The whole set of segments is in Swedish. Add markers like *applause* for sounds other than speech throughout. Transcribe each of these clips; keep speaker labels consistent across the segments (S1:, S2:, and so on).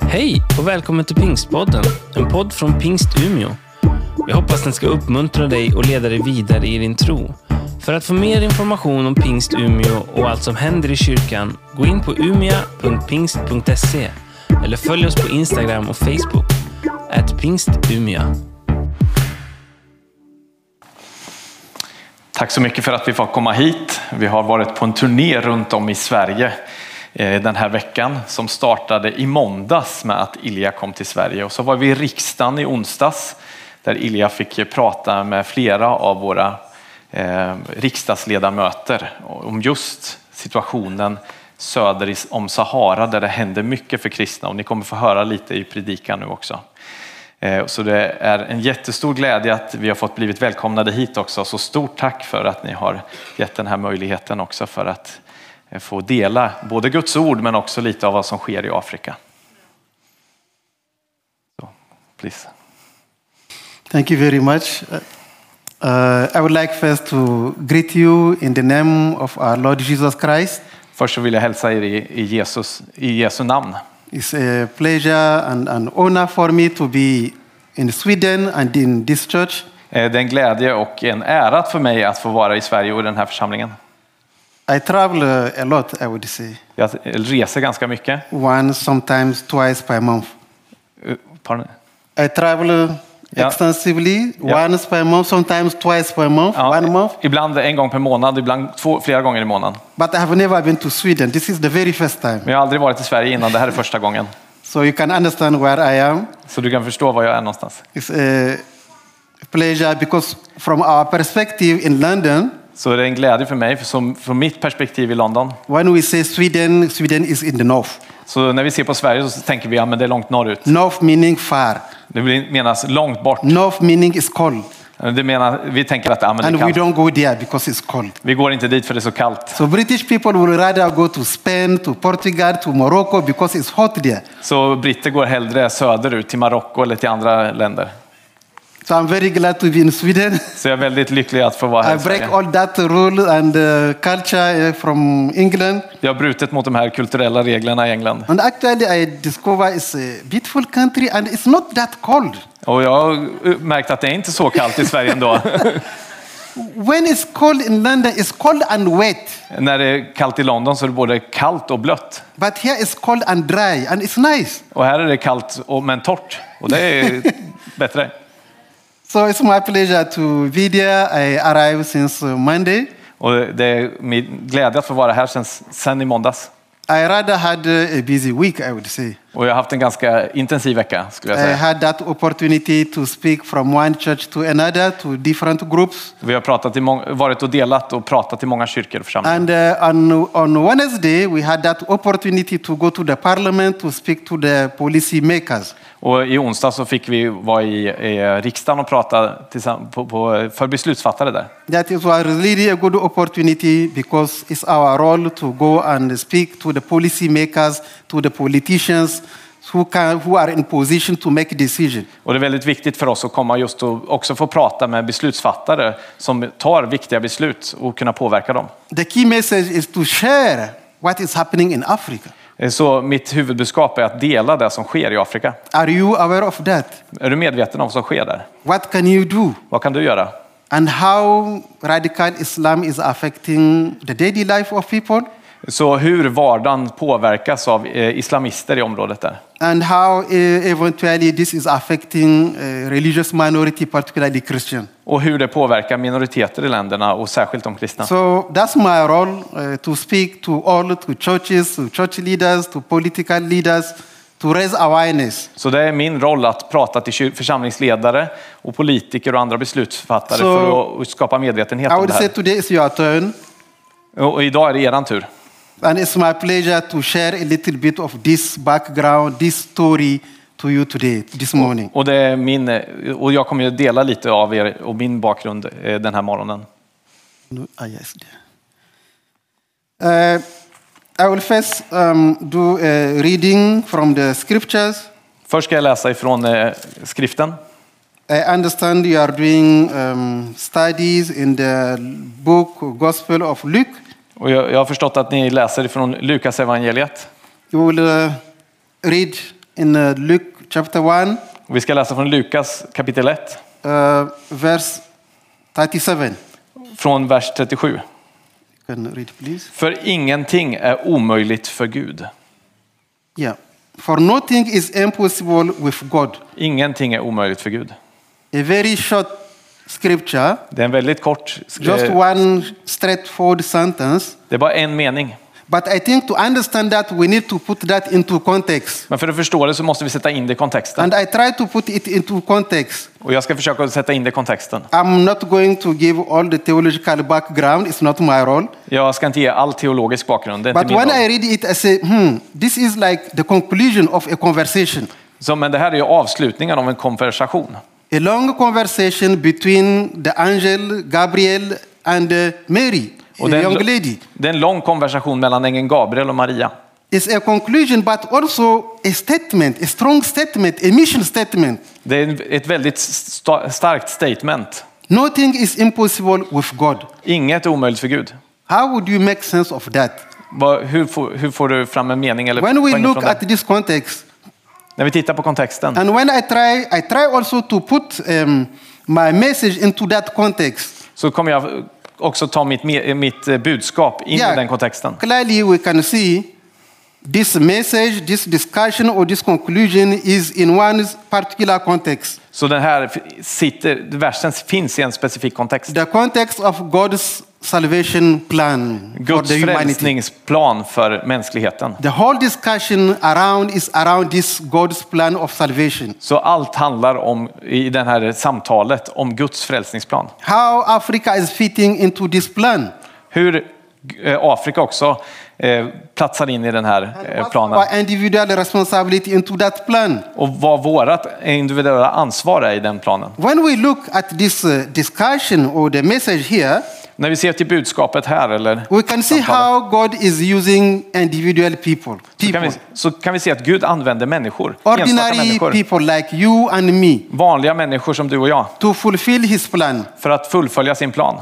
S1: Hej och välkommen till Pingstpodden, en podd från Pingst Umeå. Jag hoppas den ska uppmuntra dig och leda dig vidare i din tro. För att få mer information om Pingst Umeå och allt som händer i kyrkan, gå in på umia.pingst.se eller följ oss på Instagram och Facebook, at pingstumia.
S2: Tack så mycket för att vi får komma hit. Vi har varit på en turné runt om i Sverige eh, den här veckan som startade i måndags med att Ilja kom till Sverige och så var vi i riksdagen i onsdags där Ilja fick eh, prata med flera av våra eh, riksdagsledamöter om just situationen söder i- om Sahara där det händer mycket för kristna och ni kommer få höra lite i predikan nu också. Eh, Så det är en jättestor glädje att vi har fått blivit välkomnade hit också. Så stort tack för att ni har gett den här möjligheten också för att eh, få dela både Guds ord men också lite av vad som sker i Afrika. Så, please.
S3: Thank you very much. Uh, I would like first to greet you in the name of our Lord Jesus Christ.
S2: Först så vill jag hälsa er i, i, Jesus, i Jesu namn.
S3: It's a pleasure and an honor for me to be in Sweden and in this church.
S2: Eh, Det är en glädje och en ära för mig att få vara i Sverige och i den här församlingen.
S3: I travel uh, a lot, I would say,
S2: Jag reser ganska mycket.
S3: once, sometimes twice per month.
S2: Eh, pardon.
S3: I travel uh,
S2: Yeah.
S3: extensively,
S2: Yeah. Ah,
S3: once per month, sometimes twice per month,
S2: Ja,
S3: one month.
S2: Ibland en gång per månad, ibland två, flera gånger i månaden.
S3: But I have never been to Sweden. This is the very first time.
S2: Men jag har aldrig varit i Sverige innan, det här är första gången.
S3: So you can understand where I am.
S2: Så du kan förstå var jag är någonstans.
S3: It's a uh, pleasure because, from our perspective in London,
S2: Så det är en glädje för mig, för som, från mitt perspektiv i London.
S3: when we say Sweden, Sweden is in the north.
S2: Så när vi ser på Sverige så tänker vi att ja, men det är långt norrut.
S3: North meaning far.
S2: Det blir- menas långt bort.
S3: North meaning is cold.
S2: Det menar, vi tänker att ja, men det
S3: And
S2: är
S3: we
S2: kallt.
S3: don't go there because it's cold.
S2: Vi går inte dit för det är så kallt.
S3: So British people will rather go to Spain, to Portugal, to Morocco because it's hot there.
S2: Så britter går hellre söderut, till Marocko eller till andra länder.
S3: So I'm very glad to be in Sweden. *laughs*
S2: Så jag är väldigt lycklig att få vara här
S3: I
S2: i
S3: break
S2: Sverige.
S3: all that rule and uh, culture uh, from England.
S2: Jag har brutit mot de här kulturella reglerna i England.
S3: And actually, I discover it's a beautiful country and it's not that cold.
S2: Och jag har eh, märkt att det är inte så kallt i Sverige ändå. *laughs*
S3: When it's cold in London, it's cold and wet.
S2: när det är kallt i London så är det både kallt och blött.
S3: But here it's cold and dry, and it's nice.
S2: Och här är det kallt och, men torrt. Och det är bättre.
S3: So it's my pleasure to be there. I arrived since uh, Monday.
S2: Och det är min glädje att få vara här sen, sen i måndags.
S3: I rather had uh, a busy week, I would say.
S2: Och jag har haft en ganska intensiv vecka skulle jag
S3: I
S2: säga.
S3: had that opportunity to speak from one church to another to different groups.
S2: Vi har pratat i mång- varit och delat och pratat i många kyrkor och församlingar.
S3: And uh, on, on Wednesday, we had that opportunity to go to the parliament to speak to the policy makers.
S2: Och i onsdag så fick vi vara i, i riksdagen och prata tillsamm- på, på, för beslutsfattare där.
S3: That is was really a good opportunity because it's our role to go and speak to the policymakers, to the politicians who, can, who are in position to make decisions.
S2: Och det är väldigt viktigt för oss att komma just och också få prata med beslutsfattare som tar viktiga beslut och kunna påverka dem.
S3: The key message is to share what is happening in Africa.
S2: Eh, Så mitt huvudbudskap är att dela det som sker i Afrika.
S3: Are you aware of that?
S2: Är du medveten om vad som sker där?
S3: What can you do?
S2: Vad kan du göra?
S3: And how radical Islam is affecting the daily life of people?
S2: Så hur vardagen påverkas av eh, islamister i området där?
S3: And how uh, eventually this is affecting uh, religious minority, particularly Christian?
S2: Och hur det påverkar minoriteter i länderna och särskilt de kristna.
S3: So that's my role uh, to speak to all, to churches, to church leaders, to political leaders, to raise awareness.
S2: Så det är min roll att prata till kyr- församlingsledare och politiker och andra beslutsfattare
S3: Så-
S2: för att skapa medvetenhet
S3: I
S2: om
S3: would
S2: det
S3: say
S2: här.
S3: today is your turn,
S2: Och och idag är det eran tur.
S3: and it's my pleasure to share a little bit of this background, this story to you today, this morning.
S2: Och, det är min, eh, och jag kommer ju dela lite av er och min bakgrund eh, den här morgonen.
S3: No, ah, yes, there. Uh, I will first um, do a reading from the scriptures.
S2: Först ska jag läsa ifrån eh, skriften.
S3: I understand you are doing um, studies in the book Gospel of Luke.
S2: Och jag, jag har förstått att ni läser ifrån Lukas evangeliet.
S3: You will uh, read in uh, Luke chapter 1,
S2: Vi ska läsa från Lukas kapitel 1,
S3: uh, verse 37.
S2: från vers 37.
S3: You can read, please.
S2: För ingenting är omöjligt för Gud.
S3: Yeah. For nothing is impossible with God.
S2: Ingenting är omöjligt för Gud.
S3: A very short scripture,
S2: Det är en väldigt kort,
S3: just
S2: eh,
S3: one straightforward sentence.
S2: det är bara en mening.
S3: But I think to understand that, we need to put that into context.
S2: Men för att förstå det så måste vi sätta in det i kontexten.
S3: And I try to put it into context.
S2: Och jag ska försöka att sätta in det i kontexten.
S3: I'm not going to give all the theological background, it's not my role.
S2: Jag ska inte ge all teologisk bakgrund, det är
S3: But
S2: inte min
S3: when I
S2: roll.
S3: read it, I say, hmm, this is like the conclusion of a conversation.
S2: Så, men det här är ju avslutningen av en konversation.
S3: A long conversation between the angel Gabriel and uh, Mary, a
S2: Och det, är en,
S3: young
S2: l-
S3: lady.
S2: det är en lång konversation mellan ängeln Gabriel och Maria.
S3: It's a conclusion, but also a statement, a strong statement, a mission statement.
S2: Det är en- ett väldigt sta- starkt statement.
S3: Nothing is impossible with God.
S2: Inget är omöjligt för Gud.
S3: How would you make sense of that?
S2: Vad- hur, får, hur får du fram en mening eller
S3: When we
S2: poäng
S3: look
S2: från det?
S3: at this context,
S2: När vi tittar på kontexten
S3: and when I try, I try also to put um, my message into that context.
S2: så kommer jag också ta mitt, me- mitt eh, budskap in i den kontexten.
S3: Clearly, we can see this message, this discussion, or this conclusion is in one particular context.
S2: Så den här f- sitter, versen finns i en specifik kontext.
S3: The context of God's salvation plan for
S2: Guds
S3: the humanity.
S2: frälsningsplan för mänskligheten.
S3: The whole discussion around is around this God's plan of salvation.
S2: Så allt handlar om, i det här samtalet om Guds frälsningsplan.
S3: How Africa is fitting into this plan.
S2: Hur eh, Afrika också eh, platsar in i den här eh,
S3: What's
S2: planen.
S3: our individual responsibility into that plan.
S2: Och vad vårt individuella ansvar är i den planen.
S3: When we look at this uh, discussion or the message here,
S2: När vi ser till budskapet här, eller,
S3: we can see
S2: Samtalet.
S3: how God is using individual people,
S2: så, kan vi,
S3: people,
S2: så kan vi se att Gud använder människor, enstaka
S3: ordinary
S2: människor,
S3: people like you and me,
S2: vanliga människor som du och jag,
S3: to fulfill His plan.
S2: för att fullfölja sin plan.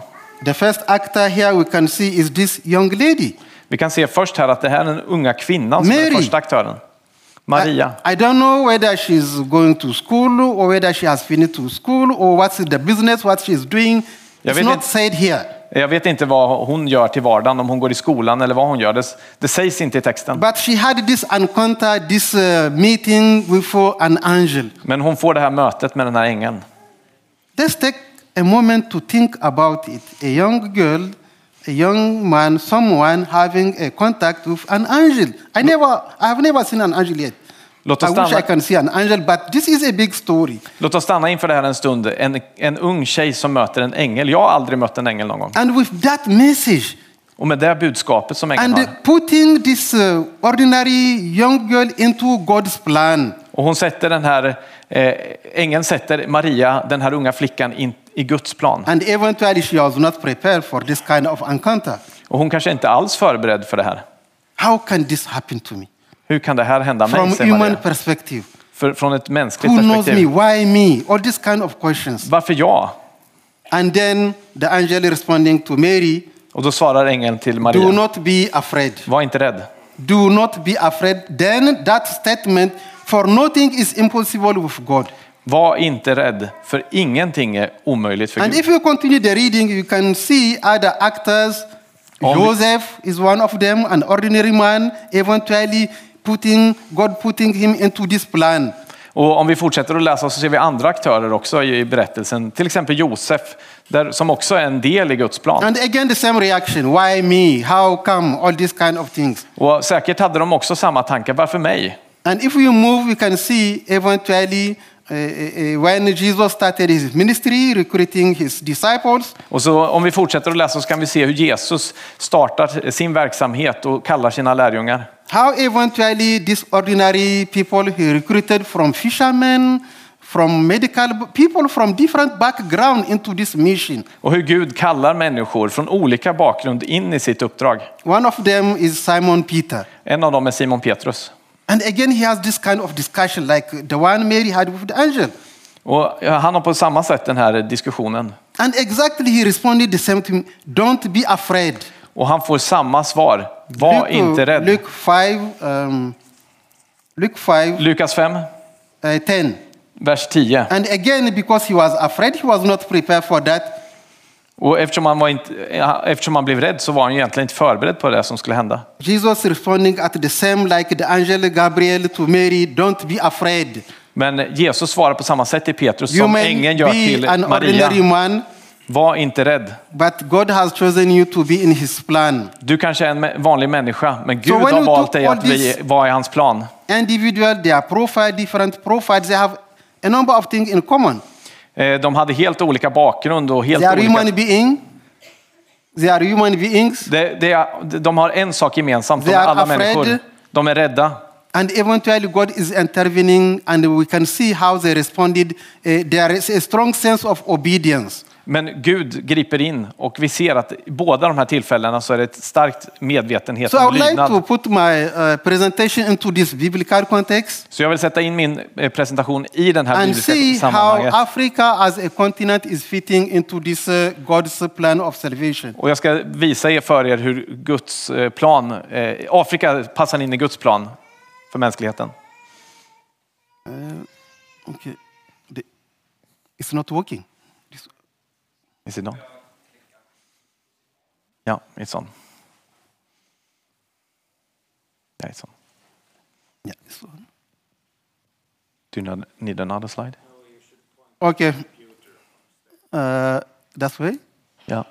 S3: The first actor here we can see is this young lady.
S2: Vi kan se först här att det här är den unga kvinnan som är
S3: Mary.
S2: den första aktören. Maria.
S3: I, I don't know whether she's going to school or whether she has finished to school or what's the business, what she's doing.
S2: Jag
S3: It's
S2: vet
S3: not
S2: inte.
S3: said here.
S2: Jag vet inte vad hon gör till vardagen, om hon går i skolan eller vad hon gör. Det, det sägs inte i texten.
S3: But she had this encounter, this uh, meeting with uh, an angel.
S2: Men hon får det här mötet med den här ängeln.
S3: Let's take a moment to think about it. A young girl, a young man, someone having a contact with an angel. I never, I have never seen an angel yet.
S2: Låt
S3: I
S2: oss
S3: wish
S2: stanna-
S3: I can see an angel, but this is a big story.
S2: Låt oss stanna inför det här en stund. En, en ung tjej som möter en ängel. Jag har aldrig mött en ängel någon gång.
S3: And with that message,
S2: Och med det budskapet som ängeln
S3: and
S2: har.
S3: putting this uh, ordinary young girl into God's plan.
S2: Och hon sätter den här, eh, ängeln sätter Maria, den här unga flickan, in, i Guds plan.
S3: And eventually, she was not prepared for this kind of encounter.
S2: Och hon kanske inte alls förberedd för det här.
S3: How can this happen to me?
S2: Hur kan det här hända mig?
S3: From
S2: säger
S3: human
S2: Maria.
S3: perspective,
S2: För, från ett mänskligt
S3: who knows me?
S2: perspektiv.
S3: Why me? All these kind of questions.
S2: Varför jag?
S3: And then the angel responding to Mary,
S2: Och då svarar ängeln till
S3: "Do
S2: Maria.
S3: not be afraid.
S2: Var inte rädd.
S3: Do not be afraid." Then that statement, "For nothing is impossible with God."
S2: Var inte rädd, för ingenting är omöjligt för
S3: And
S2: Gud.
S3: if you continue the reading, you can see other actors.
S2: Om-
S3: Joseph is one of them, an ordinary man, eventually putting God putting him into this plan.
S2: Och om vi fortsätter att läsa så ser vi andra aktörer också i i berättelsen. Till exempel Josef, där, som också är en del i Guds plan.
S3: And again, the same reaction: Why me? How come? All these kind of things.
S2: Och säkert hade de också samma tankar. Varför mig?
S3: And if we move, we can see eventually uh, uh, uh, when Jesus started his ministry, recruiting his disciples,
S2: Och så, om vi fortsätter att läsa så kan vi se hur Jesus startar sin verksamhet och kallar sina lärjungar.
S3: how eventually these ordinary people he recruited from fishermen, from medical people from different background into this mission.
S2: Och hur Gud kallar människor från olika bakgrund in i sitt uppdrag.
S3: One of them is Simon Peter.
S2: En av dem är Simon Petrus.
S3: And again, he has this kind of discussion like the one Mary had with the angel.
S2: Och han har på samma sätt den här diskussionen.
S3: And exactly he responded the same to him Don't be afraid.
S2: Och han får samma svar. Var
S3: Luke,
S2: inte rädd.
S3: Luke 5, um, Luke 5,
S2: Lukas 5,
S3: uh, 10.
S2: vers 10.
S3: And again, because he was afraid, he was not prepared for that.
S2: Och eftersom han, var inte, eh, eftersom han blev rädd så var han ju egentligen inte förberedd på det som skulle hända.
S3: Jesus responding at the same like the angel Gabriel to Mary, don't be afraid.
S2: Men Jesus svarar på samma sätt till Petrus
S3: You
S2: som
S3: may
S2: ängeln gör
S3: be an
S2: till
S3: ordinary
S2: Maria.
S3: man,
S2: Var inte rädd.
S3: but God has chosen you to be in his plan.
S2: Du kanske är en mä- vanlig människa, men Gud
S3: when
S2: har
S3: you
S2: valt
S3: do
S2: dig
S3: all
S2: att vi
S3: this-
S2: vara i hans plan.
S3: Individual, their profile, different profiles, they have a number of things in common.
S2: Eh, De hade helt olika bakgrund och helt
S3: They are
S2: olika...
S3: human beings. They are human beings.
S2: Det, det, är- de har en sak gemensamt, de
S3: They
S2: är
S3: are
S2: alla
S3: afraid.
S2: människor. De är rädda.
S3: And eventually, God is intervening, and we can see how they responded. Eh, there is a strong sense of obedience.
S2: Men Gud griper in och vi ser att i båda de här tillfällena så är det ett starkt medvetenhet
S3: So, I
S2: om
S3: would like to
S2: lydnad.
S3: put my uh, presentation into this biblical context
S2: Så jag vill sätta in min eh, presentation i den här
S3: and see
S2: bibliska
S3: how
S2: sammanhanget.
S3: Africa as a continent is fitting into this uh, God's plan of salvation.
S2: Och jag ska visa er för er hur Guds eh, plan, eh, Afrika passar in i Guds plan för mänskligheten.
S3: Okay. The- it's not working. This-
S2: Is it not? Ja, it's on. Ja, it's on.
S3: yeah, this one.
S2: Do you need another slide?
S3: Okay. Uh, that's way.
S2: Ja.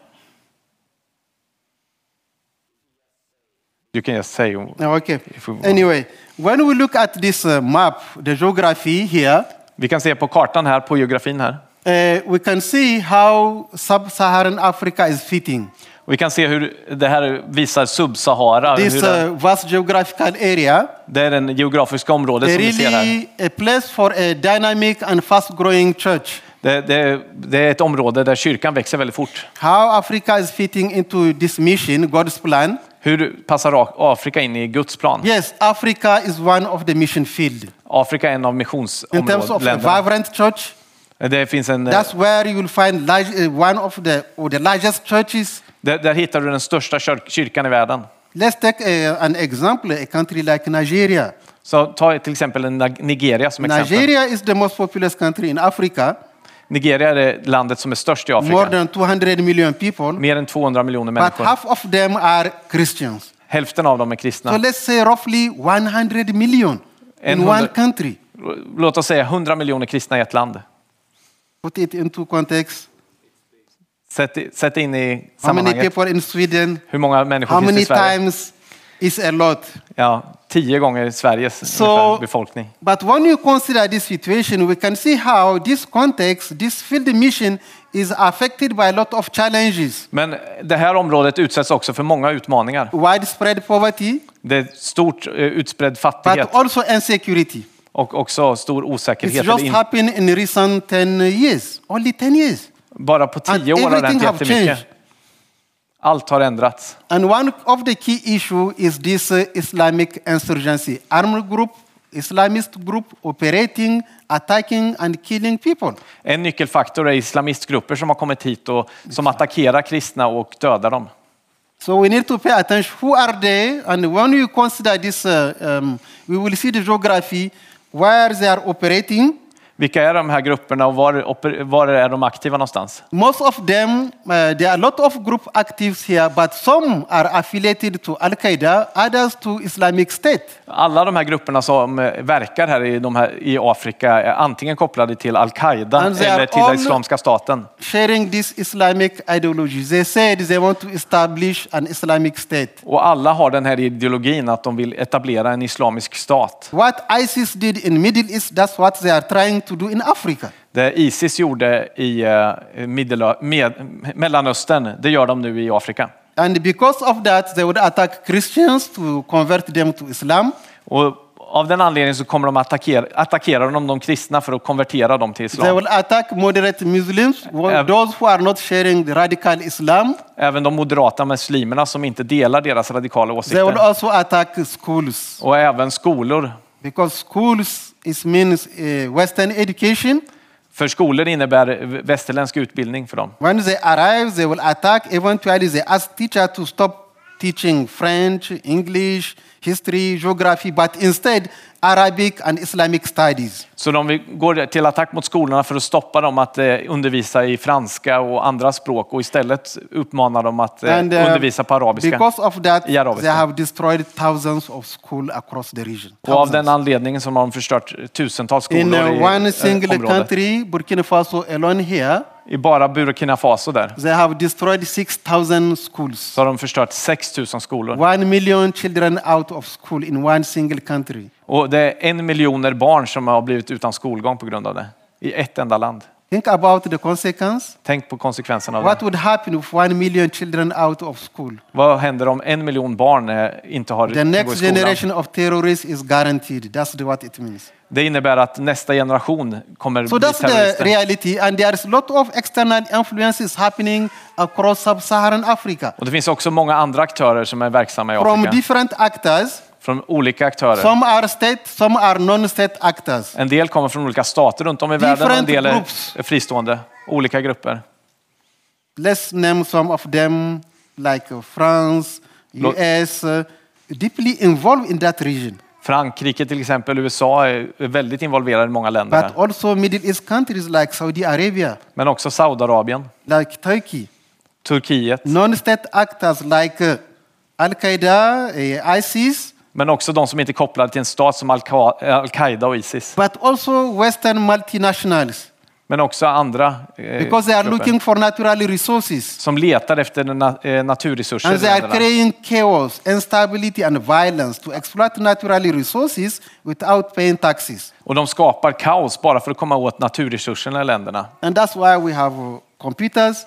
S2: You can just say...
S3: No, Okay.
S2: If we-
S3: Anyway, when we look at this uh, map, the geography here,
S2: Vi kan se på kartan här, på geografin här.
S3: uh, we can see how sub-Saharan Africa is fitting.
S2: Och vi kan se hur det här visar Subsahara. Hur
S3: This
S2: det,
S3: uh, vast geographical area
S2: det är det geografiska området
S3: is
S2: som vi ser här.
S3: really a place for a dynamic and fast-growing church.
S2: Det, det, det är ett område där kyrkan växer väldigt fort.
S3: How Africa is fitting into this mission, God's plan?
S2: Hur passar Af- Afrika in i Guds plan?
S3: Yes, Africa is one of the mission field.
S2: Afrika är en av
S3: In terms of a
S2: missionsländerna.
S3: vibrant church,
S2: Det finns en, eh,
S3: that's where you will find large, uh, one of the, or the largest churches
S2: där, där hittar du den största kyr- kyrkan i världen.
S3: Let's take a, an example, a country like Nigeria.
S2: Så ta till exempel en Nag- Nigeria som exempel. Nigeria,
S3: Nigeria is the most populous country in Africa,
S2: är det landet som är störst i
S3: more
S2: Afrika.
S3: than 200 million people,
S2: Mer än 200 miljoner
S3: but
S2: människor.
S3: half of them are Christians.
S2: Hälften av dem är
S3: So
S2: kristna.
S3: let's say roughly 100 million in
S2: En
S3: one
S2: hundra-
S3: country.
S2: Låt oss säga 100 miljoner kristna i ett land.
S3: Put it into context.
S2: Sätt, i- sätt in i
S3: How many
S2: sammanhanget.
S3: people in Sweden?
S2: Hur många människor
S3: How
S2: finns det i
S3: many
S2: Sverige?
S3: times is a lot?
S2: Ja, tio gånger Sveriges
S3: So-
S2: ungefär befolkning.
S3: But when you consider this situation, we can see how this context, this field mission, is affected by a lot of challenges.
S2: Men det här området utsätts också för många utmaningar.
S3: Widespread poverty,
S2: Det är stort eh, utspridd fattighet
S3: but also insecurity.
S2: och också stor
S3: It's
S2: osäkerhet.
S3: just
S2: Det är in-
S3: happened in recent 10 years, only 10 years.
S2: Bara på
S3: And
S2: tio år har det
S3: everything
S2: hänt
S3: have
S2: jättemycket.
S3: changed.
S2: Allt har ändrats.
S3: And one of the key issue is this uh, Islamic insurgency, armed group, Islamist group operating, attacking and killing people.
S2: En nyckelfaktor är islamistgrupper som har kommit hit och som attackerar kristna och dödar dem.
S3: So we need to pay attention. Who are they? And when you consider this, uh, um, we will see the geography where they are operating.
S2: Vilka är de här grupperna och var, oper- var är de aktiva någonstans?
S3: Most of them, uh, there are a lot of group actives here, but some are affiliated to Al Qaeda, others to Islamic State.
S2: Alla de här grupperna som eh, verkar här i, de här, i Afrika är antingen kopplade till Al-Qaida
S3: And they
S2: eller
S3: are
S2: till
S3: all-
S2: Islamiska staten.
S3: Sharing this Islamic ideology, they said they want to establish an Islamic State.
S2: Och alla har den här ideologin att de vill etablera en islamisk stat.
S3: What ISIS did in Middle East, that's what they are trying to do in Africa.
S2: Det Isis gjorde i eh, Middelö- med, Mellanöstern, det gör de nu i Afrika.
S3: And because of that, they would attack Christians to convert them to Islam.
S2: Och av den anledningen så kommer de attackera, attackera de, de kristna för att konvertera dem till
S3: They
S2: islam.
S3: will attack moderate Muslims, wo-
S2: Yeah.
S3: those who are not sharing the radical Islam.
S2: Även de moderata muslimerna som inte delar deras radikala
S3: They will
S2: åsikter.
S3: also attack schools.
S2: Och även skolor.
S3: Because schools is means uh, Western education.
S2: För skolor innebär västerländsk utbildning för dem.
S3: When they arrive, they will attack. Eventually, they ask teacher to stop teaching French, English, history, geography, but instead Arabic and Islamic studies.
S2: Så de vill- går till attack mot skolorna för att stoppa dem att eh, undervisa i franska och andra språk och istället uppmanar dem att eh,
S3: And, uh,
S2: undervisa på arabiska.
S3: Because of that,
S2: I arabiska.
S3: they have destroyed thousands of schools across the region.
S2: Och av den
S3: Thousands.
S2: anledningen så har de förstört tusentals skolor
S3: In uh,
S2: i
S3: one
S2: eh,
S3: single
S2: området.
S3: country, Burkina Faso alone here,
S2: I bara Burkina Faso där
S3: they have destroyed 6,000 schools.
S2: så har de förstört 6 000 skolor.
S3: One million children out of school in one single country.
S2: Och det är en miljoner barn som har blivit utan skolgång på grund av det. I ett enda land.
S3: Think about the consequence.
S2: Tänk på konsekvenserna av det.
S3: What would happen if one million children out of school?
S2: Vad händer om en miljon barn eh, inte har
S3: The
S2: kan gå i
S3: next
S2: skolan?
S3: generation of terrorists is guaranteed. That's the- what it means.
S2: Det innebär att nästa generation kommer
S3: So
S2: bli
S3: that's the
S2: terrorister.
S3: reality, and there's a lot of external influences happening across sub-Saharan Africa
S2: Och det finns också många andra aktörer som är verksamma i
S3: from
S2: Afrika.
S3: different actors.
S2: Från olika aktörer.
S3: Some are state, some are non-state actors.
S2: En del kommer från olika stater runt om i världen och en
S3: Different
S2: del är
S3: groups.
S2: är fristående. Olika grupper.
S3: Let's name some of them, like uh, France,
S2: Lo-
S3: US, uh, deeply involved in that region,
S2: Frankrike till exempel, USA är är väldigt involverade i många länder.
S3: but
S2: Här.
S3: also Middle East countries like Saudi Arabia,
S2: Men också Saudiarabien,
S3: like Turkey.
S2: Turkiet,
S3: non-state actors like uh, Al Qaeda, uh, ISIS,
S2: men också de som inte är kopplade till en stat som Al-Qa- eh, Al-Qaida och Isis.
S3: but also Western multinationals
S2: Men också andra eh,
S3: because they are
S2: grupper
S3: looking for natural resources
S2: som letar efter na eh, naturresurser. i
S3: and they are
S2: länderna.
S3: creating chaos, instability, and violence to exploit natural resources without paying taxes.
S2: Och de skapar kaos bara för att komma åt naturresurserna i länderna.
S3: And that's why we have uh, computers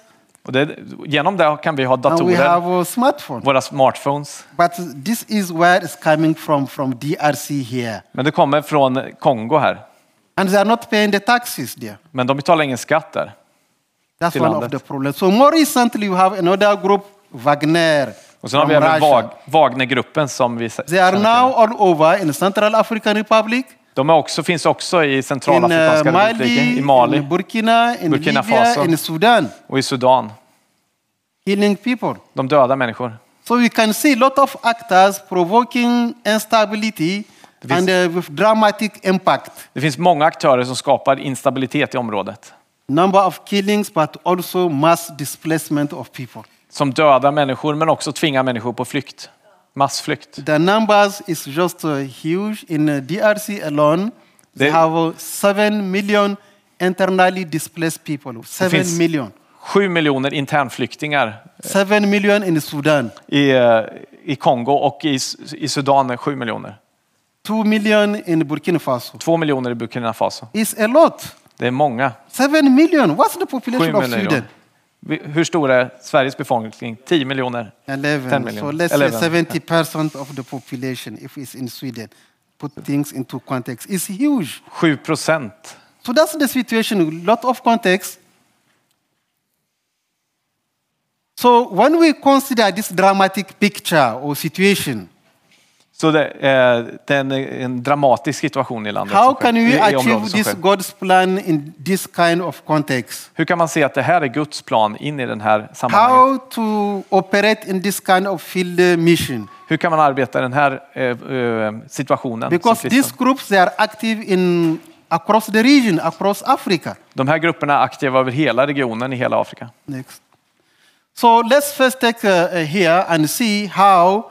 S2: Och det, genom det kan vi ha
S3: and we
S2: datorer,
S3: have uh, smartphones.
S2: våra smartphones.
S3: But this is where it's coming from, from DRC here.
S2: Men det kommer från Kongo här.
S3: And they are not paying the taxes there.
S2: Men de betalar ingen skatt där.
S3: That's
S2: till
S3: one
S2: landet.
S3: of the problems. So more recently, you have another group, Wagner.
S2: Och sen har vi
S3: from
S2: även
S3: Russia.
S2: Wag, Wagnergruppen som vi se-
S3: They are
S2: känner
S3: now
S2: till.
S3: all over in Central African Republic,
S2: De är också, finns också i
S3: in uh,
S2: Centralafrikanska republiken,
S3: Mali,
S2: i Mali
S3: in Burkina, in
S2: Burkina
S3: Libya,
S2: Faso.
S3: in Sudan,
S2: och i Sudan.
S3: killing people.
S2: De dödar människor.
S3: So you can see a lot of actors provoking instability
S2: finns-
S3: and uh, with dramatic impact.
S2: Det finns många aktörer som skapar instabilitet i området.
S3: Number of killings, but also mass displacement of people.
S2: Som dödar människor men också tvingar människor på flykt. Massflykt.
S3: The numbers is just uh, huge. In uh, DRC alone, they,
S2: They-
S3: have uh, 7 million internally displaced people. 7
S2: finns-
S3: million.
S2: Sju miljoner internflyktingar
S3: 7 million in Sudan.
S2: i, eh, i Kongo och i, S- i Sudan är sju miljoner.
S3: 2 million in Burkina Faso.
S2: Två miljoner i Burkina Faso.
S3: It's a lot.
S2: Det är många.
S3: 7 million. What's the population
S2: Sju
S3: of
S2: miljoner.
S3: Sweden?
S2: Vi- Hur stor är Sveriges befolkning? 10 miljoner. 10
S3: 11.
S2: million.
S3: So let's
S2: 11.
S3: say 70% of the population, if it's in Sweden, put things into context. It's huge.
S2: 7 procent.
S3: So that's the situation, a lot of context. So when we consider this dramatic picture or situation,
S2: Så det, eh, det är en, en dramatisk situation i landet.
S3: how
S2: som sker,
S3: can
S2: i-
S3: we
S2: i området
S3: achieve
S2: som
S3: this
S2: sker.
S3: God's plan in this kind of context?
S2: Hur kan man se att det här är Guds plan in i den här sammanhanget?
S3: How to operate in this kind of field uh, mission?
S2: Hur kan man arbeta i den här eh, eh, situationen?
S3: Because
S2: som
S3: these
S2: kristen?
S3: groups they are active in across the region, across Africa.
S2: De här grupperna är aktiva över hela regionen i hela Afrika.
S3: Next. So let's first take uh, uh, here and see how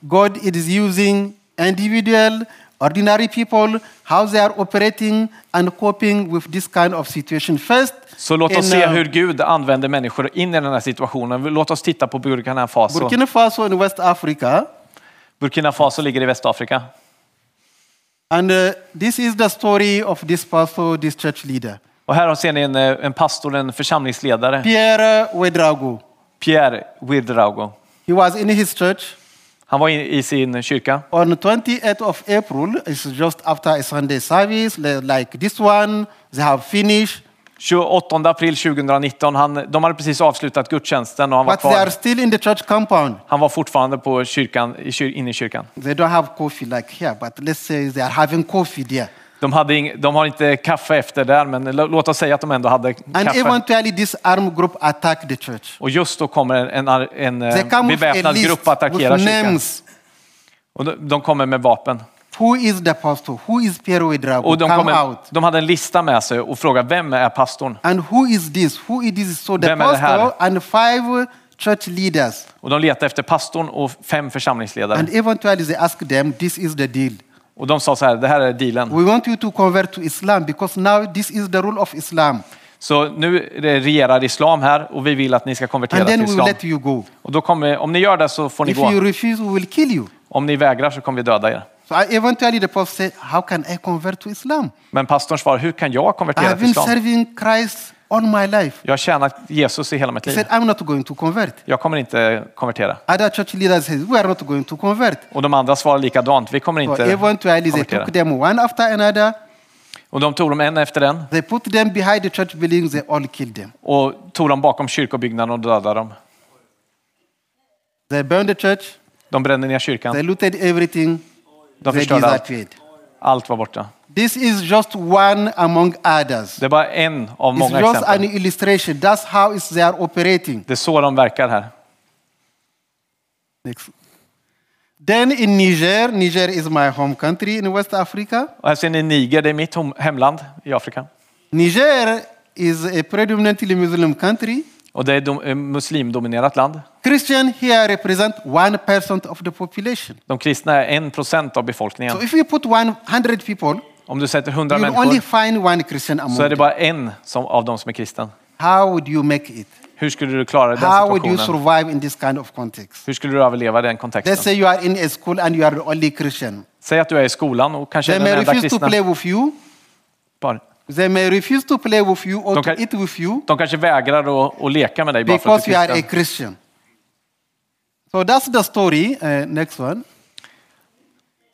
S3: God is using individual, ordinary people, how they are operating and coping with this kind of situation. First,
S2: Så låt oss
S3: in,
S2: se
S3: uh,
S2: hur Gud använder människor in i den här situationen. Låt oss titta på Burkina Faso. Burkina,
S3: Burkina Faso in West Africa,
S2: Faso ligger i Västafrika.
S3: and uh, this is the story of this pastor, this church leader,
S2: Och här ser ni en, eh, en pastor, en församlingsledare,
S3: Pierre Wedrago.
S2: Pierre Widrago.
S3: He was in his church
S2: Han var i, i sin kyrka.
S3: on 28th of April, it's just after a Sunday service li- like this one. They have finished,
S2: 28 april 2019, han, de hade precis avslutat gudstjänsten och han var
S3: but they are
S2: kvar.
S3: still in the church compound.
S2: Han var fortfarande på kyrkan, i kyr, inne i kyrkan.
S3: They don't have coffee like here, but let's say they are having coffee there.
S2: De, hade ing, de har inte kaffe efter där, men l- låt oss säga att de ändå hade
S3: And
S2: kaffe.
S3: eventually, this armed group attacked the church.
S2: Och just då kommer en, en, en eh,
S3: They come with a
S2: beväpnad grupp att
S3: list
S2: attackera
S3: with
S2: kyrkan.
S3: names.
S2: Och de, de kommer med vapen.
S3: Who is the pastor? Who is Piero Drago?
S2: Och de,
S3: Come
S2: kommer,
S3: out.
S2: de hade en lista med sig och frågade vem är pastorn?
S3: And who is this? Who is this? So the
S2: Vem är det här?
S3: pastor and five church leaders.
S2: Och de letade efter pastorn och fem församlingsledare.
S3: And eventually they asked them, this is the deal.
S2: Och de sa så här, det här är dealen.
S3: We want you to convert to Islam because now this is the rule of Islam.
S2: Så nu är det regerar islam här och vi vill att ni ska konvertera
S3: And
S2: till
S3: then we will
S2: islam.
S3: let you go.
S2: Och då kommer, om ni gör det så får ni
S3: If you
S2: gå.
S3: refuse, we will kill you.
S2: Om ni vägrar så kommer vi döda er.
S3: So I eventually the pastor said, how can I convert to Islam?
S2: Men pastorn svarar, hur kan jag
S3: I
S2: konvertera
S3: have
S2: till
S3: been
S2: islam?
S3: serving Christ all my life.
S2: Jag har tjänat Jesus i hela mitt
S3: He
S2: liv.
S3: said, I'm not going to convert.
S2: Jag kommer inte konvertera.
S3: Other church leaders said, we are not going to convert.
S2: Och de andra svarar likadant, vi kommer
S3: So
S2: inte
S3: eventually they
S2: konvertera.
S3: took them one after another.
S2: Och de tog dem en efter en
S3: They put them behind the church buildings. They all killed them.
S2: och tog dem bakom kyrkobyggnaden och dödade dem.
S3: They burned the church.
S2: De brände ner kyrkan,
S3: They looted everything.
S2: de
S3: they
S2: förstörde allt.
S3: disappeared.
S2: Allt var borta.
S3: This is just one among others.
S2: Det är bara en av
S3: It's
S2: många
S3: just an
S2: exempel.
S3: illustration. That's how it's, they are operating.
S2: Det är så de verkar här.
S3: Next. Then in Niger, Niger is my home country in West Africa.
S2: Och här ser ni Niger, det är mitt hom- hemland i Afrika.
S3: Niger is a predominantly Muslim country.
S2: Och det är dom- eh, muslimdominerat land.
S3: Christian here represent 1% of the population.
S2: De kristna är en procent av befolkningen.
S3: So if you put 100 people,
S2: Om du sätter 100
S3: you'll only
S2: människor
S3: find one Christian among
S2: så är det
S3: them.
S2: bara en som, av dem som är kristen.
S3: How would you make it?
S2: Hur skulle du klara den
S3: How would you
S2: situationen?
S3: survive in this kind of context?
S2: Hur skulle du överleva den
S3: Let's
S2: kontexten?
S3: say you are in a school and you are the only Christian.
S2: Säg att du är i skolan och kanske
S3: They
S2: är
S3: may
S2: den enda
S3: refuse to
S2: kristna.
S3: play with you.
S2: Bara.
S3: They may refuse to play with you or
S2: Don't
S3: to
S2: I-
S3: eat with you
S2: De kanske vägrar att, att leka med dig bara för att
S3: because
S2: du
S3: you
S2: är
S3: are a
S2: kristen.
S3: Christian. So that's the story. Uh, next one.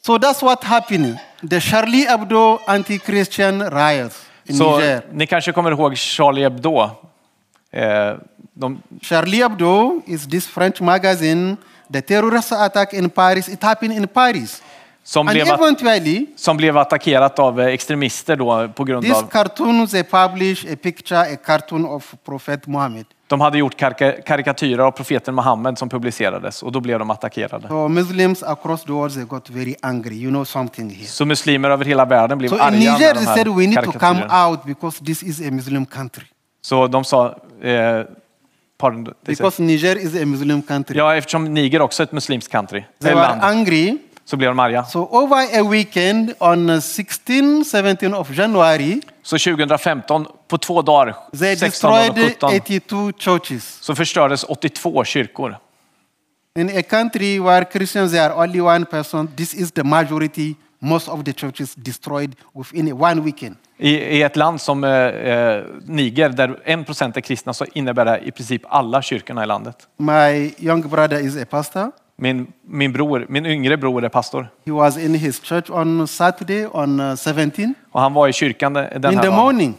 S3: So that's what happened. The Charlie Hebdo anti-Christian riots in
S2: Så
S3: Niger.
S2: ni kanske kommer ihåg Charlie Hebdo. Eh, de,
S3: Charlie Hebdo is this French magazine. The terrorist attack in Paris. It happened in Paris.
S2: som,
S3: And
S2: blev, att-
S3: eventually,
S2: som blev attackerat av eh, extremister då på grund
S3: These
S2: av...
S3: cartoons, they publish a picture, a cartoon of Prophet Muhammad.
S2: De hade gjort karika- karikatyrer av profeten Muhammed som publicerades och då blev de attackerade.
S3: So Muslims across the world, they got very angry. You know something here.
S2: Så muslimer över hela världen blev
S3: So in
S2: arga
S3: Niger,
S2: med
S3: they
S2: de
S3: said we
S2: här
S3: need to come
S2: karikatyrerna.
S3: out because this is a Muslim country.
S2: Så de sa... Eh, pardon, they said-
S3: Because Niger is a Muslim country.
S2: ja, eftersom Niger också är ett muslimskt country,
S3: They
S2: eh,
S3: were
S2: land,
S3: angry.
S2: så blev de arga.
S3: So over a weekend on uh, 16, 17 of January,
S2: Så 2015, på två dagar,
S3: they
S2: 16 och
S3: destroyed
S2: 17,
S3: 82 churches
S2: så förstördes 82 kyrkor.
S3: in a country where Christians they are only one person. This is the majority. Most of the churches destroyed within one weekend.
S2: I, I ett land som eh, eh, Niger, där 1% är kristna, så innebär det i princip alla kyrkorna i landet.
S3: My young brother is a pastor.
S2: Min, min, bror, min yngre bror är pastor.
S3: He was in his church on Saturday on uh, 17
S2: Och han var i kyrkan den här
S3: in the
S2: dagen.
S3: morning.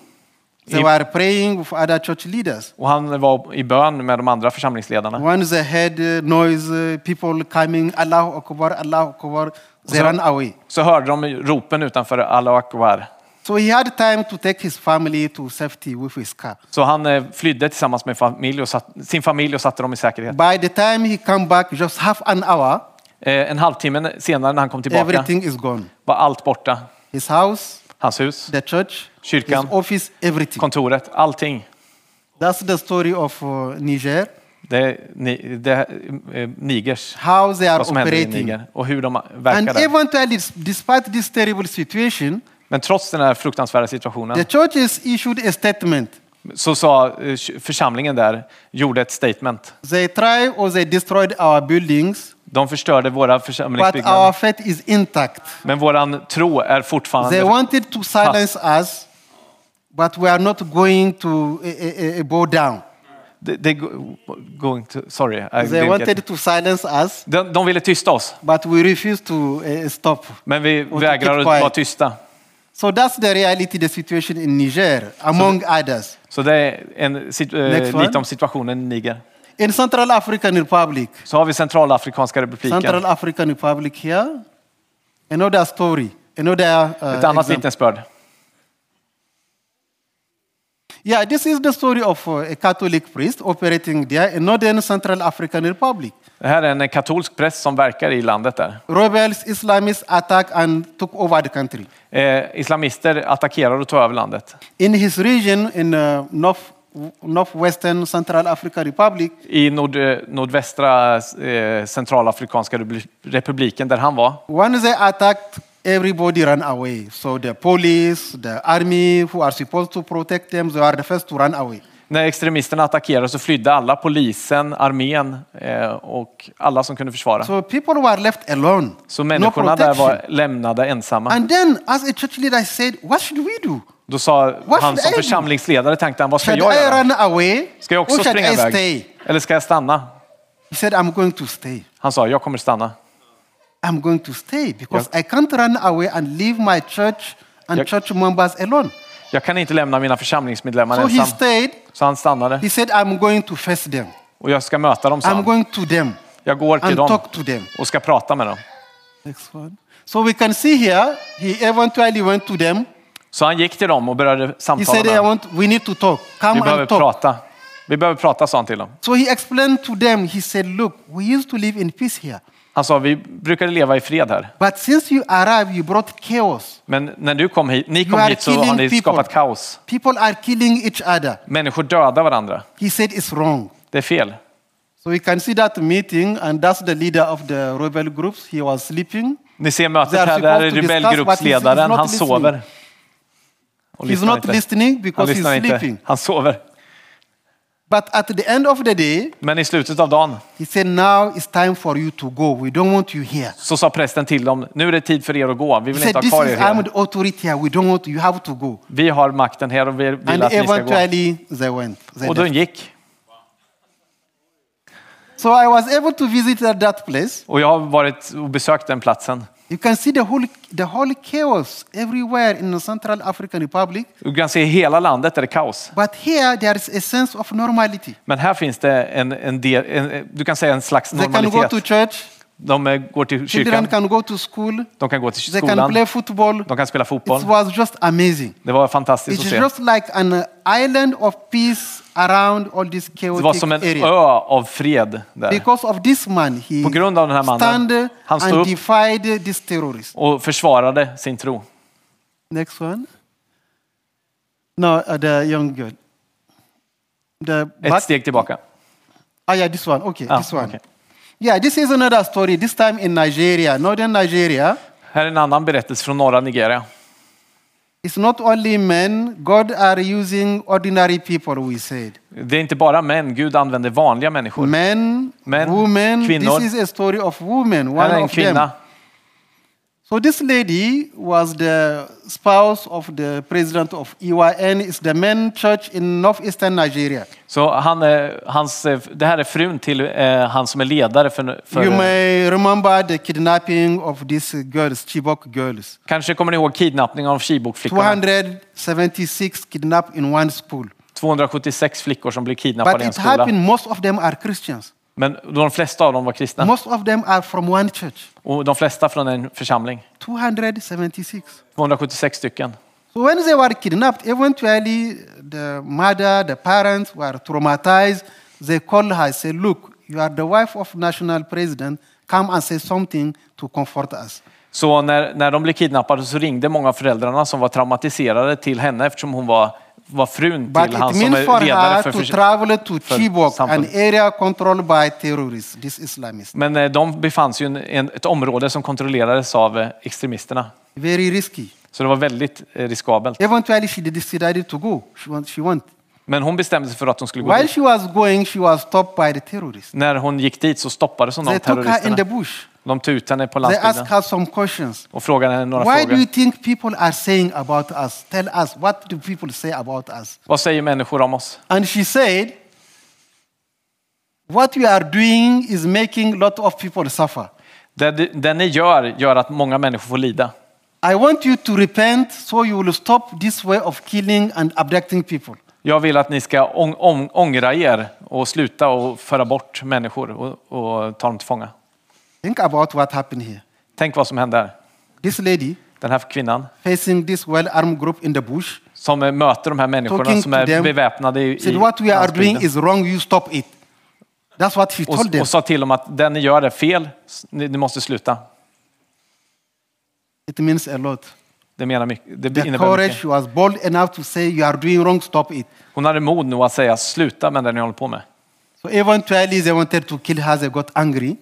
S3: They
S2: If-
S3: were praying with other church leaders.
S2: Och han var i bön med de andra församlingsledarna.
S3: Once they heard uh, noise, uh, people coming, Allah Akbar, Allah Akbar, they
S2: So-
S3: ran away.
S2: Så hörde de ropen utanför Allahu Akbar.
S3: So he had time to take his family to safety with his car.
S2: Så han eh, flydde tillsammans med familj och satt, sin familj och satte dem i säkerhet.
S3: By the time he come back, just half an hour,
S2: Eh, en halvtimme senare när han kom tillbaka
S3: everything is gone.
S2: var allt borta.
S3: His house,
S2: Hans hus,
S3: the church,
S2: Kyrkan.
S3: his office, everything.
S2: kontoret, allting.
S3: That's the story of uh, Niger,
S2: Det är, ni, det är eh, Nigers,
S3: how they are
S2: vad som händer i
S3: operating.
S2: Niger och hur de
S3: And
S2: verkar där.
S3: eventually, despite this terrible situation,
S2: Men trots den här fruktansvärda
S3: the
S2: situationen
S3: churches issued a statement.
S2: så sa eh, församlingen där, gjorde ett statement.
S3: They tried or they destroyed our buildings,
S2: De förstörde våra
S3: but
S2: församlingsbyggnader.
S3: our faith is intact.
S2: Men våran tro är
S3: They
S2: fortfarande...
S3: wanted to silence us, but we are not going to eh, eh, eh, bow down.
S2: They, they go- going to, sorry, I
S3: They
S2: didn't get
S3: wanted
S2: it.
S3: to silence us,
S2: de, de ville tysta oss,
S3: but we refused to eh, stop.
S2: men vi
S3: to
S2: vägrar
S3: keep
S2: att vara
S3: quiet.
S2: tysta.
S3: So that's the reality, the situation in Niger, among others.
S2: Så det är en, sit- eh,
S3: Next one.
S2: lite om situationen i Niger.
S3: In Central African Republic,
S2: Så har vi Centralafrikanska republiken.
S3: Central African Republic here, another story. Another
S2: Ett
S3: uh,
S2: annat
S3: example.
S2: vittnesbörd.
S3: Yeah, this is the story of uh, a Catholic priest operating there in northern Central African Republic.
S2: Det här är en katolsk präst som verkar i landet där.
S3: Rebels, Islamists attack and took over the country.
S2: Eh, islamister attackerar och tar över landet.
S3: In his region, in uh, north, northwestern Central African Republic,
S2: I nord, eh, nordvästra eh, centralafrikanska Republi- republiken där han var
S3: when they attacked, everybody ran away. So the police, the army, who are supposed to protect them, they are the first to run away.
S2: När extremisterna attackerade så flydde alla, polisen, armén eh, och alla som kunde försvara. Så,
S3: So people were left alone. no
S2: människorna där
S3: protection.
S2: var lämnade ensamma.
S3: And then, as a church leader, I said, What should we do?
S2: Då sa
S3: What
S2: han
S3: should
S2: som
S3: I do?
S2: församlingsledare, tänkte han, vad ska
S3: Should
S2: jag
S3: I
S2: göra?
S3: run away?
S2: Ska jag också
S3: or should
S2: springa
S3: I
S2: iväg?
S3: stay?
S2: Eller ska jag stanna?
S3: He said, I'm going to stay.
S2: Han sa, jag kommer stanna.
S3: I'm going to stay because I can't run away and leave my church and
S2: Yep.
S3: church members alone.
S2: Jag kan inte lämna mina församlingsmedlemmar
S3: So he
S2: ensam.
S3: stayed.
S2: Så han stannade.
S3: He said, I'm going to face them.
S2: Och jag ska möta dem, sa
S3: I'm
S2: han.
S3: going to them
S2: Jag går till
S3: and
S2: dem
S3: talk to them.
S2: och ska prata med dem.
S3: Next one. So we can see here, he eventually went to them.
S2: Så han gick till dem och började
S3: He
S2: samtala
S3: said,
S2: med
S3: I
S2: dem.
S3: want, we need to talk.
S2: Vi
S3: Come
S2: behöver
S3: and talk.
S2: prata. Vi behöver prata, sa han till dem.
S3: So he explained to them, he said, Look, we used to live in peace here.
S2: Han sa, vi brukade leva i fred här.
S3: But since you arrived, you brought chaos.
S2: Men när du kom hit, ni
S3: You
S2: kom
S3: are
S2: hit så har
S3: killing
S2: ni
S3: people.
S2: skapat kaos.
S3: People are killing each other.
S2: Människor dödar varandra.
S3: He said, It's wrong.
S2: Det är fel.
S3: So we can see that meeting, and that's the leader of the rebel groups. He was sleeping.
S2: Ni ser
S3: They
S2: mötet
S3: are
S2: här, där är
S3: supposed to discuss, but he's-
S2: rebellgruppsledaren,
S3: he's not
S2: han
S3: listening.
S2: sover. Och
S3: He's not listening because
S2: han lyssnar
S3: he's
S2: inte.
S3: sleeping.
S2: Han sover.
S3: But at the end of the day,
S2: Men i slutet av dagen
S3: he said, Now it's time for you to go. We don't want you here.
S2: så sa prästen till dem, nu är det tid för er att gå. Vi
S3: He
S2: vill
S3: said,
S2: inte ha
S3: This
S2: kvar er
S3: is
S2: här.
S3: armed authority here. We don't want you. You have to go.
S2: Vi har makten här och vi vill
S3: And
S2: att ni ska gå.
S3: eventually, they went. They
S2: Och de
S3: left.
S2: gick.
S3: So I was able to visit at that place.
S2: Och jag har varit och besökt den platsen.
S3: You can see the whole, the whole chaos everywhere in the Central African Republic.
S2: Du kan se i hela landet är det kaos.
S3: But here, there is a sense of normality. Men
S2: Men här finns det en, en del, en, du kan säga en slags
S3: They can go to
S2: normalitet.
S3: church.
S2: De eh, går till
S3: Children
S2: kyrkan,
S3: can go to school.
S2: de kan gå till
S3: They can
S2: skolan,
S3: play football. It
S2: de kan spela fotboll.
S3: was just amazing.
S2: Det var
S3: It's
S2: fantastiskt att se.
S3: just like an island of peace around all this
S2: Det var
S3: chaotic
S2: som en
S3: area.
S2: ö av fred där.
S3: Because of this man, he
S2: På grund av den här mannen,
S3: stand
S2: han stod
S3: and
S2: upp.
S3: defied this terrorist.
S2: Och försvarade sin tro.
S3: Next one. No, uh, the young girl. The
S2: Ett steg tillbaka.
S3: Ah, yeah, this one. Okay,
S2: Ah,
S3: this one.
S2: okay.
S3: Yeah, this is another story. This time in Nigeria, northern Nigeria.
S2: Här är en annan berättelse från norra Nigeria.
S3: It's not only men. God are using ordinary people. We said
S2: Det är inte bara män, Gud använder vanliga människor.
S3: men,
S2: Men,
S3: women.
S2: kvinnor.
S3: This is a story of women. One
S2: Här är en
S3: of them.
S2: kvinna.
S3: So this lady was the spouse of the president of EYN. It's the main church in northeastern Nigeria.
S2: Så han, är- hans, eh, det här är frun till eh, han som är ledare för...
S3: you
S2: för
S3: may remember the kidnapping of these girls, Chibok girls.
S2: kanske kommer ni ihåg kidnappningen av Chibok-flickorna?
S3: 276 kidnapped in one school.
S2: 276 flickor som blev
S3: But
S2: kidnappade i en
S3: it
S2: skola.
S3: happened, most of them are Christians.
S2: Men de flesta av dem var kristna.
S3: Most of them are from one church,
S2: Och de flesta från en församling.
S3: 276.
S2: 276 stycken.
S3: So when they were kidnapped, eventually the mother, the parents were traumatized. They called her and said, Look, you are the wife of national president. Come and say something to comfort us.
S2: Så när, när de blev kidnappade så ringde många av föräldrarna som var traumatiserade till henne eftersom hon var, var frun
S3: But
S2: till han
S3: it
S2: som
S3: means for
S2: är ledare
S3: her
S2: för
S3: to
S2: förs-
S3: travel to
S2: för
S3: Chibok, an
S2: samfund.
S3: area controlled by terrorists, these Islamists.
S2: Men eh, de befanns ju i en, en, ett område som kontrollerades av eh, extremisterna.
S3: Very risky.
S2: Så det var väldigt eh, riskabelt.
S3: Eventually, she decided to go. She went. She went.
S2: Men hon bestämde sig för att hon skulle gå
S3: While
S2: dit.
S3: she was going, she was stopped by the terrorists.
S2: När hon gick dit så stoppades hon av
S3: They took her in the
S2: terroristerna.
S3: bush.
S2: De tog ut henne på
S3: They asked
S2: landsbygden
S3: her some questions.
S2: och frågade henne några
S3: Why do
S2: frågor.
S3: you think people are saying about us? Tell us, what do people say about us?
S2: Vad säger människor om oss?
S3: And she said, What we are doing is making a lot of people suffer.
S2: Det, det ni gör, gör att många människor får lida.
S3: I want you to repent so you will stop this way of killing and abducting people.
S2: Jag vill att ni ska ång, ång, ångra er och sluta och föra bort människor och, och ta dem till fånga.
S3: Think about what happened here.
S2: Tänk vad som hände här.
S3: This lady,
S2: den här kvinnan
S3: facing this well armed group in the bush,
S2: som eh, möter de här människorna
S3: Talking
S2: som
S3: to
S2: är
S3: them.
S2: beväpnade i,
S3: said,
S2: i
S3: What we are doing
S2: landsbygden.
S3: is wrong, you stop it. That's what he told
S2: Och,
S3: them.
S2: och sa till dem att det ni gör är fel, S- ni, ni måste sluta.
S3: It means a lot.
S2: Det, menar mycket, det
S3: The
S2: innebär mycket.
S3: courage was bold enough to say, You are doing wrong, stop it.
S2: Hon hade mod nog att säga sluta med det ni håller på med.
S3: So eventually they wanted to kill her, they got angry.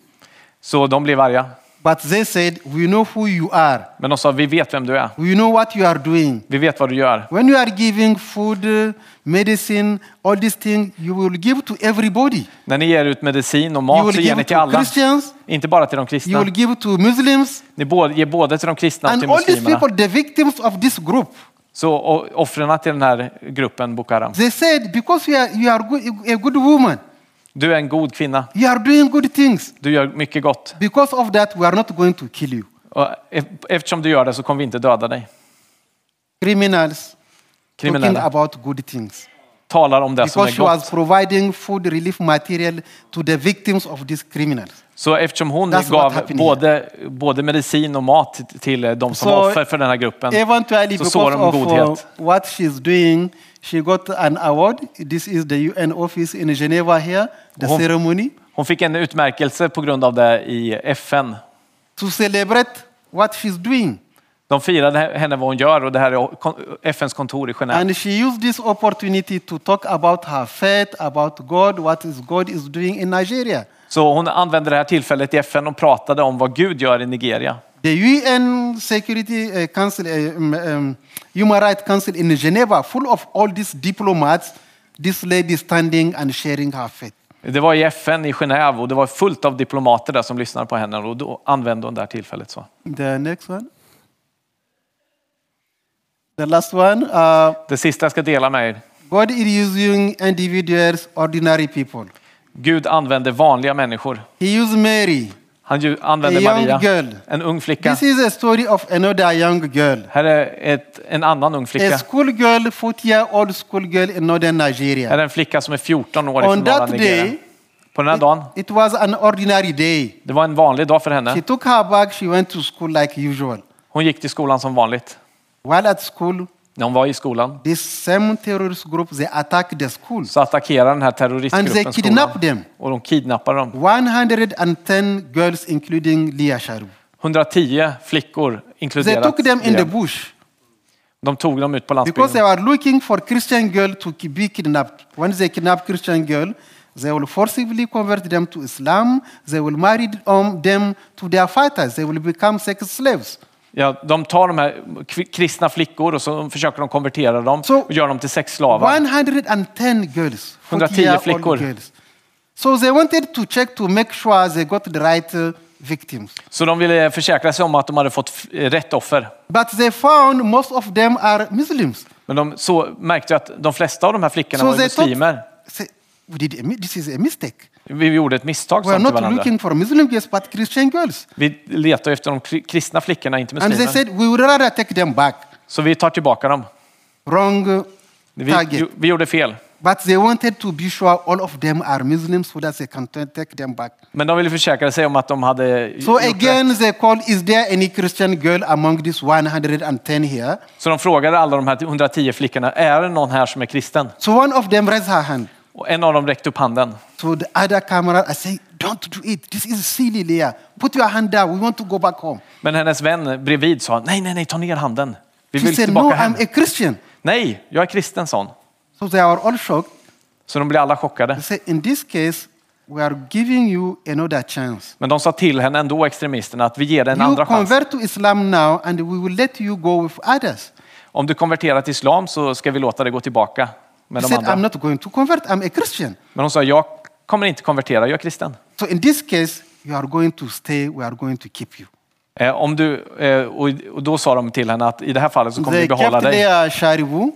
S2: Så de blev arga.
S3: But they said, We know who you are,
S2: Men de sa vi vet vem du är.
S3: we know what you are doing.
S2: Vi vet vad du gör.
S3: When you are giving food, uh, medicine, all these things, you will give to everybody.
S2: När ni ger ut medicin och
S3: You will
S2: mat så ger ni
S3: give
S2: till
S3: to
S2: alla.
S3: Christians,
S2: Inte bara till de
S3: you
S2: kristna.
S3: will give to Muslims,
S2: Ni både, ger både till de kristna och
S3: and
S2: till
S3: all these people,
S2: muslimerna.
S3: the victims of this group.
S2: Så och offren till den här gruppen Boko Haram.
S3: They said, Because you are, you are good, a good woman,
S2: Du är en god kvinna.
S3: you are doing good things.
S2: Du gör mycket gott.
S3: Because of that, we are not going to kill you.
S2: Och e- eftersom du gör det så kommer vi inte döda dig.
S3: Criminals talking
S2: Kriminella
S3: about good things.
S2: talar om det som
S3: Because
S2: är
S3: she was
S2: gott.
S3: providing food relief material to the victims of these criminals.
S2: Så eftersom hon
S3: That's what
S2: gav
S3: happened
S2: både, både medicin och mat till- till de som
S3: So,
S2: var offer för den här gruppen
S3: Eventually,
S2: så sår
S3: because
S2: de
S3: of uh,
S2: godhet.
S3: what she's doing, she got an award. This is the UN office in Geneva here, the
S2: Oh.
S3: ceremony,
S2: Hon fick en utmärkelse på grund av det i FN.
S3: to celebrate what she's doing.
S2: De firade henne vad hon gör och det här är kon- FNs kontor i Genève.
S3: And she used this opportunity to talk about her faith, about God, what is God is doing in Nigeria.
S2: Så hon använde det här tillfället i FN och pratade om vad Gud gör i Nigeria.
S3: The UN Security uh, Council, uh, um, um, Human Rights Council in Geneva, full of all these diplomats, this lady standing and sharing her faith.
S2: Det var i FN i Genève och det var fullt av diplomater där som lyssnade på henne och då använde hon det här tillfället. Så.
S3: The next one. The last one. Uh,
S2: Det sista jag ska dela med er.
S3: God is using individuals, ordinary people.
S2: Gud använde vanliga människor.
S3: He used Mary.
S2: Han ju- använde
S3: A young
S2: Maria,
S3: girl.
S2: en ung flicka.
S3: This is a story of another young girl.
S2: Här är ett, en annan ung
S3: A
S2: flicka.
S3: schoolgirl, 40 year old schoolgirl in northern
S2: Här
S3: Nigeria.
S2: är en flicka som är 14 år
S3: On
S2: ifrån norra
S3: that
S2: Nigeria.
S3: day,
S2: På den här dagen,
S3: It was an ordinary day.
S2: det var en vanlig dag för henne.
S3: She took her bag, she went to school like usual.
S2: Hon gick till skolan som vanligt.
S3: While at school,
S2: När hon var i skolan
S3: this same terrorist group they attacked the school.
S2: så attackerade den här
S3: And they
S2: terroristgruppen skolan.
S3: kidnapped them.
S2: Och de kidnappade dem.
S3: 110 girls, including Lia Sharif.
S2: 110 flickor
S3: They
S2: inkluderat.
S3: took them in the
S2: elever.
S3: bush
S2: De tog dem ut på
S3: because they
S2: landsbygden.
S3: were looking for Christian girl to ki- be kidnapped. When they kidnap Christian girl, they will forcibly convert them to Islam. They will marry um, them to their fighters. They will become sex slaves.
S2: Ja, de tar de här kvi- kristna flickor och så försöker de konvertera dem
S3: So-
S2: och gör dem till sexslavar.
S3: 110 girls,
S2: 110
S3: 40-year-old
S2: flickor.
S3: girls. So they wanted to check to make sure they got the right uh, victims.
S2: Så de ville försäkra sig om att de hade fått f- rätt offer.
S3: But they found most of them are Muslims.
S2: Men de så märkte jag att de flesta av de här flickorna
S3: So
S2: var ju
S3: they thought,
S2: muslimer.
S3: say, we did a mi- this is a mistake.
S2: Vi gjorde ett misstag,
S3: We
S2: sa de
S3: are
S2: till
S3: not
S2: varandra.
S3: looking for Muslim girls, but Christian girls.
S2: Vi letar ju efter de kri- kristna flickorna, inte
S3: And they
S2: muslimerna.
S3: said, we would rather take them back.
S2: Så vi tar tillbaka dem.
S3: Wrong uh,
S2: Vi,
S3: target.
S2: ju- vi gjorde fel.
S3: But they wanted to be sure all of them are Muslims so that they can t- take them back.
S2: Men de ville försäkra sig om att de hade
S3: So
S2: gjort rätt.
S3: again, they called, is there any Christian girl among these 110 here?
S2: Så de frågade alla de här 110 flickorna, är det någon här som är kristen?
S3: So one of them raised her hand.
S2: Och en av dem räckte upp handen.
S3: So the other camera, I say, don't do it. This is silly, Leah. Put your hand down. We want to go back home.
S2: Men hennes vän bredvid sa, nej, nej, nej, ta ner handen. Vi
S3: She
S2: vill
S3: said, no,
S2: tillbaka hem.
S3: I'm a Christian.
S2: Nej, jag är kristen, sa hon.
S3: So they are all shocked.
S2: Så de blev alla chockade.
S3: They say, in this case, we are giving you another chance.
S2: Men de sa till henne ändå, extremisterna, att vi ger dig en
S3: You
S2: andra chans.
S3: convert to Islam now, and we will let you go with others.
S2: Om du konverterar till islam så ska vi låta dig gå tillbaka med de
S3: She said,
S2: andra.
S3: I'm not going to convert. I'm a Christian.
S2: Men hon sa, jag kommer inte konvertera, jag är kristen.
S3: So in this case, you are going to stay. We are going to keep you.
S2: Eh, om du, eh, och, och då sa de till henne att i det här fallet så kommer vi
S3: They
S2: behålla
S3: kept
S2: dig.
S3: Leah Sharibu,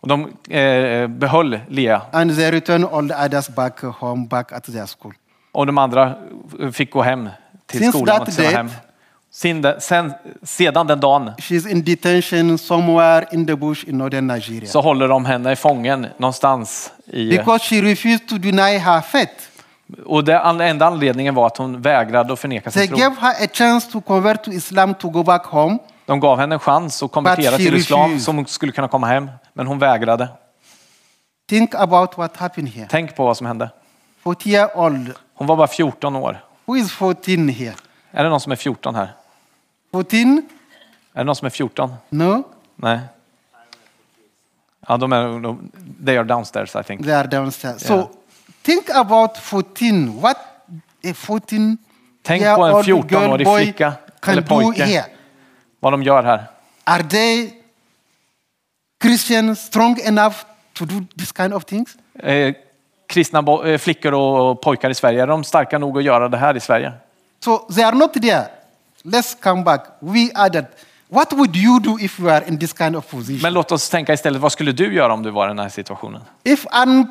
S2: Och de eh, behöll Lea
S3: and they returned all the others back home, back at their school.
S2: och de andra eh, fick gå hem till
S3: Since
S2: skolan
S3: that
S2: och till sina
S3: date-
S2: hem. Sin, de- sen, sedan den dagen
S3: She's in detention somewhere in the bush in northern Nigeria
S2: så håller de henne i fången någonstans. I,
S3: because she refused to deny her faith.
S2: och det, an- enda anledningen var att hon vägrade att förneka
S3: They
S2: sin tro.
S3: gave her a chance to convert to Islam to go back home.
S2: De De gav henne en chans att konvertera
S3: But she
S2: till islam
S3: refused.
S2: så hon skulle kunna komma hem, men hon vägrade.
S3: Think about what happened here.
S2: Tänk på vad som hände.
S3: 40 year old.
S2: Hon var bara 14 år.
S3: Who is 14 here?
S2: Är det någon som är 14 här?
S3: 14?
S2: Är det någon som är 14?
S3: No,
S2: Nej. Ja, de är, de, they are downstairs I think.
S3: they are downstairs. So think about 14. What a 14
S2: Tänk
S3: year
S2: på en
S3: old girl
S2: 14-årig
S3: boy
S2: flicka eller
S3: can do here.
S2: pojke. Vad de gör här.
S3: Are they Christians strong enough to do this kind of things?
S2: Eh, kristna bo- eh, flickor och pojkar i Sverige, är de starka nog att göra det här i Sverige?
S3: So they are not there. Let's come back. We added. What would you do if you are in this kind of position?
S2: Men låt oss tänka istället, vad skulle du göra om du var i den här situationen?
S3: If armed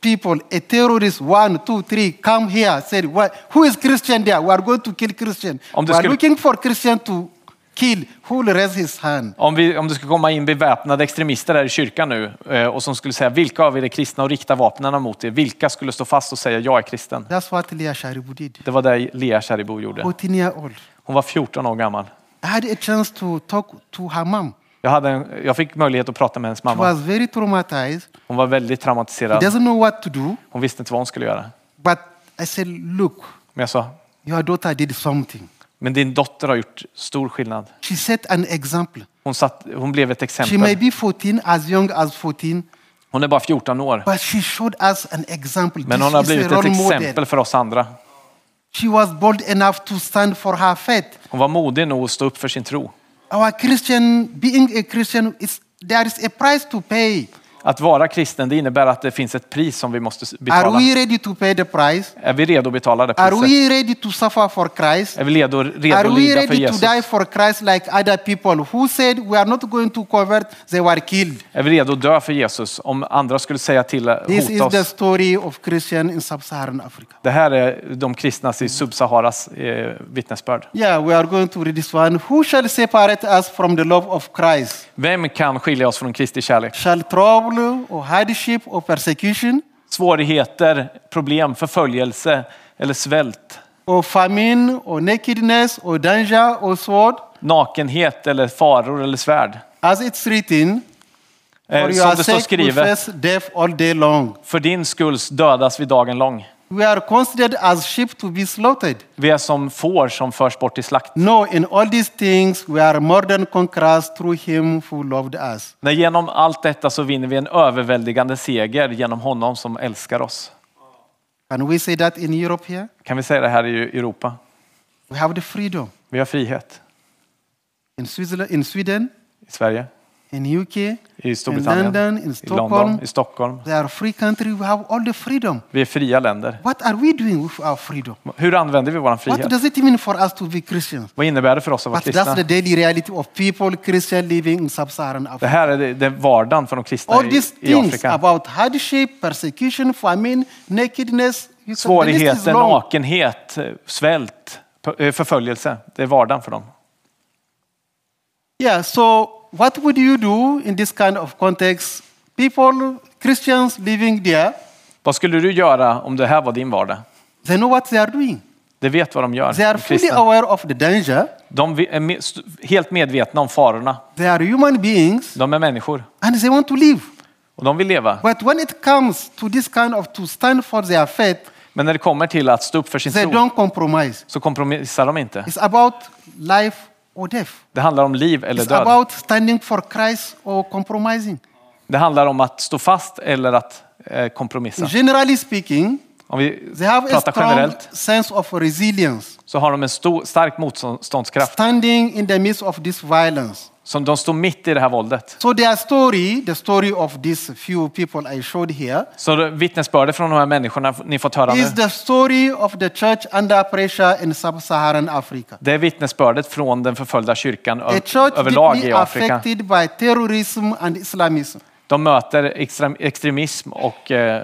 S3: people, a terrorist, one, two, three, come here, say, "Why- who is Christian there? We are going to kill Christian.
S2: Om det
S3: we are
S2: skulle-
S3: looking for Christian to kill. Who will raise his hand?
S2: Om, vi, om det skulle komma in beväpnade extremister här i kyrkan nu eh, och som skulle säga vilka av er är kristna och rikta vapnen mot er, vilka skulle stå fast och säga jag är kristen?
S3: That's what Leah Sharibu did.
S2: Det var det Lea Sharibu gjorde.
S3: 14 year old.
S2: Hon var 14 år gammal.
S3: I had a chance to talk to her mom.
S2: Jag, hade en, jag fick möjlighet att prata med hennes
S3: She
S2: mamma.
S3: was very traumatized.
S2: Hon var väldigt
S3: She
S2: traumatiserad.
S3: doesn't know what to do.
S2: Hon visste inte vad hon skulle göra.
S3: But I said, look,
S2: Men jag sa,
S3: your daughter did something.
S2: men din dotter har gjort stor skillnad.
S3: She set an example.
S2: Hon, satt, hon blev ett
S3: She may
S2: exempel.
S3: be 14, as young as 14,
S2: Hon är bara 14 år.
S3: but she showed us an example.
S2: Men
S3: This
S2: hon har
S3: is a
S2: blivit
S3: role
S2: ett
S3: model.
S2: exempel för oss andra.
S3: She was bold enough to stand for her faith.
S2: Hon var modig nog att stå upp för sin tro.
S3: Our Christian, being a Christian, is, there is a price to pay.
S2: Att vara kristen det innebär att det finns ett pris som vi måste s-
S3: Are
S2: betala.
S3: we ready to pay the price?
S2: Är vi redo att betala det
S3: Are
S2: priset?
S3: we ready to suffer for Christ?
S2: Är vi redo, redo
S3: Are
S2: att
S3: we
S2: lida för
S3: ready to
S2: Jesus?
S3: die for Christ like other people who said we are not going to convert? They were killed.
S2: Är vi redo att dö för Jesus? Om andra skulle säga till, eh,
S3: This is
S2: hota
S3: the
S2: oss.
S3: story of Christian in sub-Saharan Africa.
S2: Det här är de kristnas i Subsaharas eh, vittnesbörd.
S3: Yeah, we are going to read this one. Who shall separate us from the love of Christ?
S2: Vem kan skilja oss från Kristi kärlek?
S3: Shall trouble or hardship or persecution
S2: Svårigheter, problem, förföljelse eller svält,
S3: or famine or nakedness or danger or sword,
S2: nakenhet eller faror eller svärd.
S3: as it's written,
S2: Eh,
S3: for
S2: som
S3: your
S2: det står
S3: sake we
S2: skrivet,
S3: face death all day long.
S2: för din skull dödas vi dagen lång.
S3: We are considered as sheep to be slaughtered.
S2: Vi är som får som förs bort till slakt.
S3: No, in all these things we are more than conquerors through him who loved us.
S2: När genom allt detta så vinner vi en överväldigande seger genom honom som älskar oss.
S3: Can we say that in Europe here?
S2: Kan vi säga det här i Europa?
S3: We have the freedom
S2: Vi har frihet
S3: in Switzerland, in Sweden,
S2: i Sverige,
S3: in UK,
S2: i
S3: in
S2: Storbritannien,
S3: London, in
S2: i London,
S3: Stockholm.
S2: i Stockholm.
S3: They are free country. We have all the freedom.
S2: Vi är fria länder.
S3: What are we doing with our freedom?
S2: Hur använder vi vår
S3: What
S2: frihet?
S3: does it mean for us to be Christians?
S2: Vad innebär det för oss att vara
S3: But that's
S2: kristna?
S3: the daily reality of people, Christian living in sub-Saharan
S2: Det
S3: Africa.
S2: här är det, det är vardagen för de kristna
S3: All
S2: i,
S3: these
S2: i
S3: things
S2: Afrika.
S3: about hardship, persecution, famine, nakedness, you can- the list is
S2: Svårigheter,
S3: long.
S2: nakenhet, svält, p- eh, förföljelse. Det är vardagen för dem.
S3: Yeah, so what would you do in this kind of context? People, Christians living there,
S2: Vad skulle du göra om det här var din vardag?
S3: they know what they are doing.
S2: De vet vad de gör.
S3: They are
S2: de
S3: fully
S2: kristna.
S3: aware of the danger.
S2: De vi- är me- st- helt medvetna om farorna.
S3: They are human beings
S2: De är människor
S3: and they want to live.
S2: och de vill leva.
S3: But when it comes to this kind of to stand for their faith,
S2: Men när det kommer till att stå upp för sin
S3: they
S2: tro
S3: don't compromise.
S2: så kompromissar de inte.
S3: It's about life or death.
S2: Det handlar om liv eller
S3: It's
S2: död.
S3: about standing for Christ or compromising.
S2: Det handlar om att stå fast eller att eh, kompromissa.
S3: Generally speaking,
S2: Om vi
S3: they have a
S2: pratar
S3: strong
S2: generellt
S3: sense of resilience,
S2: så har de en stor, stark motståndskraft.
S3: standing in the midst of this violence.
S2: Som de står mitt i det här våldet.
S3: So their story, the story of these few people I showed here,
S2: Så det- vittnesbördet från de här människorna ni fått höra nu,
S3: is the story of the church under pressure in sub-Saharan Africa.
S2: det är vittnesbördet från den förföljda kyrkan
S3: A
S2: ö-
S3: church
S2: överlag
S3: deeply
S2: i Afrika.
S3: affected by terrorism and Islamism,
S2: De möter extrem, extremism och eh,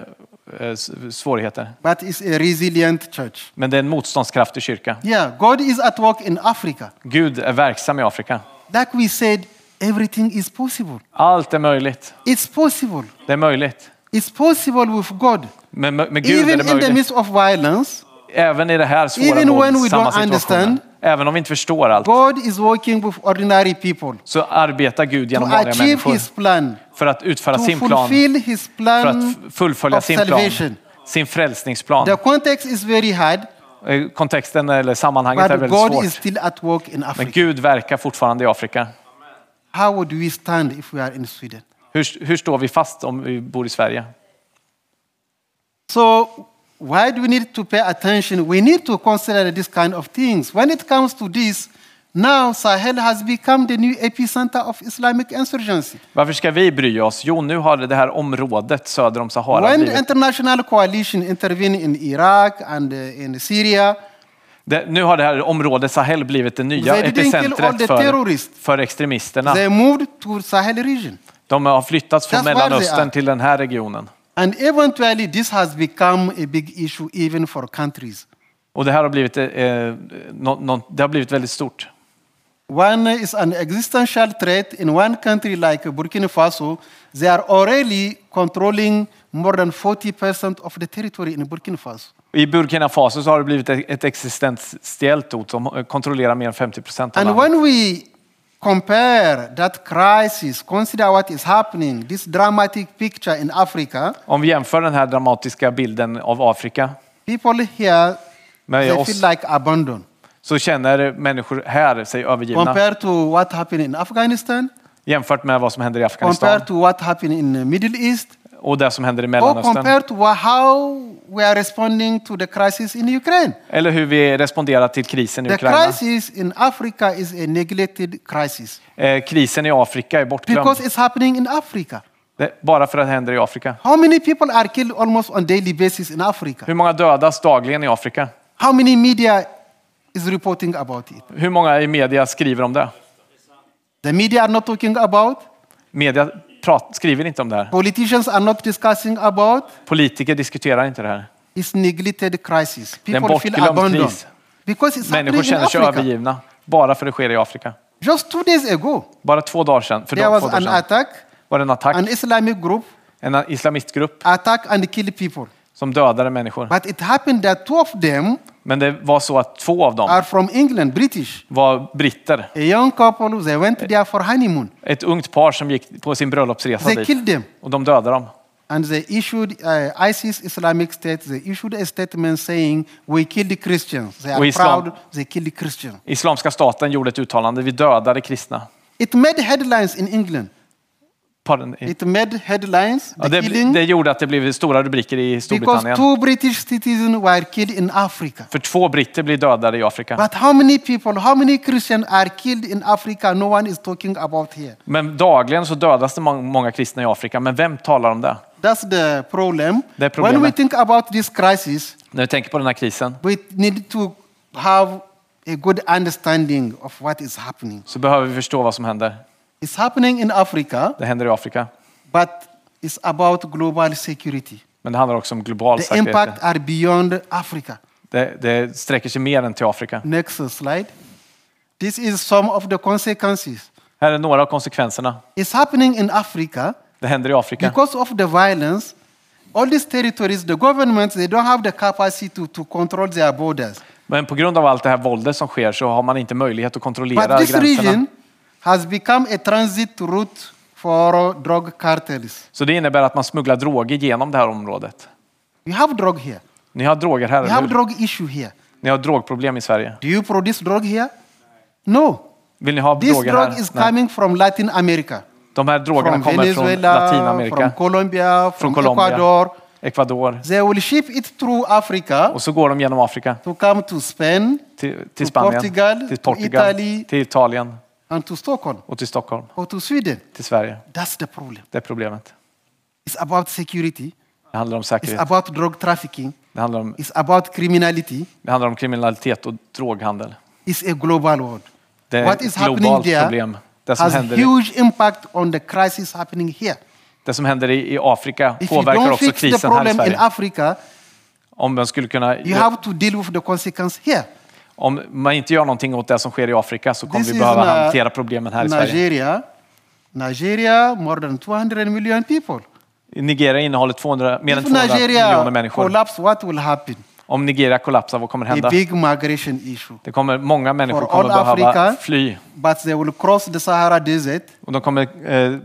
S2: eh, s- svårigheter.
S3: but is a resilient church.
S2: Men det är en motståndskraftig kyrka.
S3: Yeah, God is at work in Africa.
S2: Gud är verksam i Afrika.
S3: Like we said, everything is possible.
S2: Allt är möjligt.
S3: It's possible.
S2: Det är möjligt.
S3: It's possible with God.
S2: Med, med Gud är
S3: Even
S2: det
S3: in the
S2: möjligt.
S3: midst of violence,
S2: Även i det här svåra
S3: even when we
S2: våld,
S3: don't
S2: samma situationen.
S3: understand,
S2: Även om vi inte förstår allt
S3: God is working with ordinary people
S2: så arbetar Gud genom
S3: to
S2: vanliga
S3: achieve
S2: människor
S3: his plan,
S2: för att utföra
S3: to
S2: sin plan,
S3: fulfill his
S2: för att
S3: plan
S2: f- fullfölja
S3: of
S2: sin plan,
S3: salvation.
S2: sin frälsningsplan.
S3: The context is very hard,
S2: Eh, Kontexten eller sammanhanget är
S3: but
S2: väldigt
S3: God is
S2: svårt.
S3: still at work in
S2: Men
S3: Africa.
S2: Gud verkar fortfarande i Afrika.
S3: How would we stand if we are in Sweden?
S2: Hur, hur står vi fast om vi bor i Sverige?
S3: So, why do we need to pay attention? We need to consider these kind of things. When it comes to this, now Sahel has become the new epicenter of Islamic insurgency.
S2: Varför ska vi bry oss? Jo, nu har det här området söder om Sahara
S3: When the
S2: blivit,
S3: international coalition intervened in Iraq and uh, in Syria,
S2: det, nu har det här området Sahel blivit det nya
S3: They didn't kill all the
S2: epicentret för,
S3: terrorists.
S2: för extremisterna.
S3: they moved to Sahel region.
S2: De har flyttats från
S3: That's where they
S2: Mellanöstern
S3: are.
S2: till den här regionen.
S3: And eventually, this has become a big issue even for countries.
S2: Och det här har blivit, eh, eh, nå- nå- det har blivit väldigt stort.
S3: One is an existential threat in one country like Burkina Faso. They are already controlling more than 40% of the territory in Burkina Faso.
S2: I Burkina Faso så har det blivit ett ett existentiellt hot som kontrollerar mer än 50 procent av
S3: And
S2: landet.
S3: when we compare that crisis, consider what is happening, this dramatic picture in Africa,
S2: Om vi jämför den här dramatiska bilden av Afrika
S3: people here
S2: med
S3: they
S2: oss
S3: feel like abandoned
S2: så känner människor här sig övergivna
S3: compared to what happened in Afghanistan,
S2: jämfört med vad som händer i Afghanistan
S3: compared to what happened in the Middle East,
S2: och det som händer i
S3: or
S2: Mellanöstern.
S3: compared to wha- how we are responding to the crisis in Ukraine.
S2: Eller hur vi responderar till krisen i
S3: The
S2: Ukraina.
S3: crisis in Africa is a neglected crisis
S2: Eh, krisen i Afrika är bortglömd.
S3: because it's happening in Africa.
S2: Det, bara för att det händer i Afrika.
S3: How many people are killed almost on daily basis in Africa?
S2: Hur många dödas dagligen i Afrika?
S3: How many media is reporting about it?
S2: Hur många i media skriver om det?
S3: The media are not talking about,
S2: Media prat, skriver inte om det här.
S3: politicians are not discussing about.
S2: Politiker diskuterar inte det här.
S3: It's neglected crisis.
S2: är en
S3: People feel
S2: bortglömd
S3: abandoned
S2: kris.
S3: because it's
S2: Människor
S3: happening in
S2: känner sig
S3: Africa.
S2: övergivna bara för att det sker i Afrika.
S3: Just two days ago,
S2: Bara två dagar sedan, för
S3: there
S2: då,
S3: was
S2: två dagar
S3: an
S2: sedan
S3: attack.
S2: var det en
S3: An
S2: attack,
S3: Islamic group
S2: en islamistgrupp
S3: attack and kill people.
S2: som dödade människor.
S3: But it happened that two of them
S2: Men det var så att två av dem
S3: are from England, British.
S2: var britter.
S3: A young couple, they went there for honeymoon.
S2: Ett ungt par som gick på sin bröllopsresa
S3: They
S2: dit
S3: killed them.
S2: och de dödade dem.
S3: And they issued, uh, ISIS Islamic State, they issued a statement saying, we killed Christians. They are
S2: We Islam-
S3: proud they killed Christians.
S2: Islamiska staten gjorde ett uttalande, vi dödade kristna.
S3: It made headlines in England.
S2: Pardon, i-
S3: It made headlines,
S2: ja,
S3: the
S2: det,
S3: killing,
S2: det gjorde att det blev stora rubriker i
S3: because
S2: Storbritannien.
S3: two British citizens were killed in Africa.
S2: För två britter blir dödade i Afrika.
S3: But how many people, how many Christians are killed in Africa, no one is talking about here.
S2: Men dagligen så dödas det må- många kristna i Afrika. Men vem talar om det?
S3: That's the problem.
S2: Det är
S3: When we
S2: problemet.
S3: think about this crisis,
S2: När vi tänker på den här krisen
S3: we need to have a good understanding of what is happening.
S2: så behöver vi förstå vad som händer.
S3: It's happening in Africa,
S2: Det händer i Afrika.
S3: but it's about global security.
S2: Men det handlar också om global
S3: The
S2: säkerhet.
S3: impact are beyond Africa.
S2: Det, det sträcker sig mer än till Afrika.
S3: Next slide. This is some of the consequences.
S2: Här är några av konsekvenserna.
S3: It's happening in Africa
S2: Det händer i Afrika.
S3: because of the violence. All these territories, the governments, they don't have the capacity to, to control their borders.
S2: Men på grund av allt det här våldet som sker så har man inte möjlighet att kontrollera
S3: But this
S2: gränserna.
S3: region has become a transit route for drug cartels.
S2: Så det innebär att man smugglar droger genom det här området.
S3: We have drug here.
S2: Ni har droger här,
S3: We
S2: eller
S3: have
S2: hur?
S3: drug issue here.
S2: Ni har drogproblem i Sverige.
S3: Do you produce drug here? No.
S2: Vill ni ha
S3: This
S2: droger
S3: drug
S2: här?
S3: is
S2: Nej.
S3: coming from Latin America.
S2: De här drogerna
S3: From
S2: kommer från
S3: Venezuela,
S2: Latinamerika,
S3: from Colombia,
S2: från
S3: from
S2: Colombia,
S3: Ecuador.
S2: Ecuador.
S3: They will ship it through Africa
S2: Och så går de genom Afrika
S3: to come to Spain
S2: till,
S3: To
S2: till Spanien,
S3: Portugal,
S2: till
S3: to
S2: Portugal,
S3: Italy.
S2: till Italien
S3: and to Stockholm
S2: och till Stockholm,
S3: or to Sweden.
S2: till Sverige.
S3: That's the problem.
S2: Det är problemet.
S3: It's about security.
S2: Det handlar om
S3: It's
S2: säkerhet.
S3: about drug trafficking.
S2: Det handlar om,
S3: It's about criminality.
S2: det handlar om kriminalitet och droghandel.
S3: It's a global world.
S2: Det är
S3: What is
S2: ett
S3: happening
S2: globalt
S3: there
S2: problem. Det som,
S3: has
S2: händer i,
S3: huge impact on the crisis happening here.
S2: det som händer i i Afrika
S3: If you
S2: påverkar
S3: don't
S2: också
S3: fix the
S2: krisen här i
S3: problem in
S2: Sverige.
S3: Africa,
S2: Om man, skulle kunna,
S3: you have to deal with the consequence here.
S2: om man inte gör någonting åt det som sker i Afrika så kommer
S3: This
S2: vi
S3: is
S2: behöva
S3: Na-
S2: hantera problemen här i Sverige.
S3: Nigeria, Nigeria, more than 200 million people.
S2: Nigeria innehåller 200, mer än
S3: If
S2: 200
S3: Nigeria
S2: miljoner människor.
S3: collapse, what will happen?
S2: Om Nigeria kollapsar, vad kommer
S3: a
S2: hända?
S3: big migration issue.
S2: Det kommer, många människor
S3: For
S2: kommer
S3: all
S2: behöva
S3: Africa.
S2: fly.
S3: But they will cross the Sahara Desert,
S2: Och de kommer eh,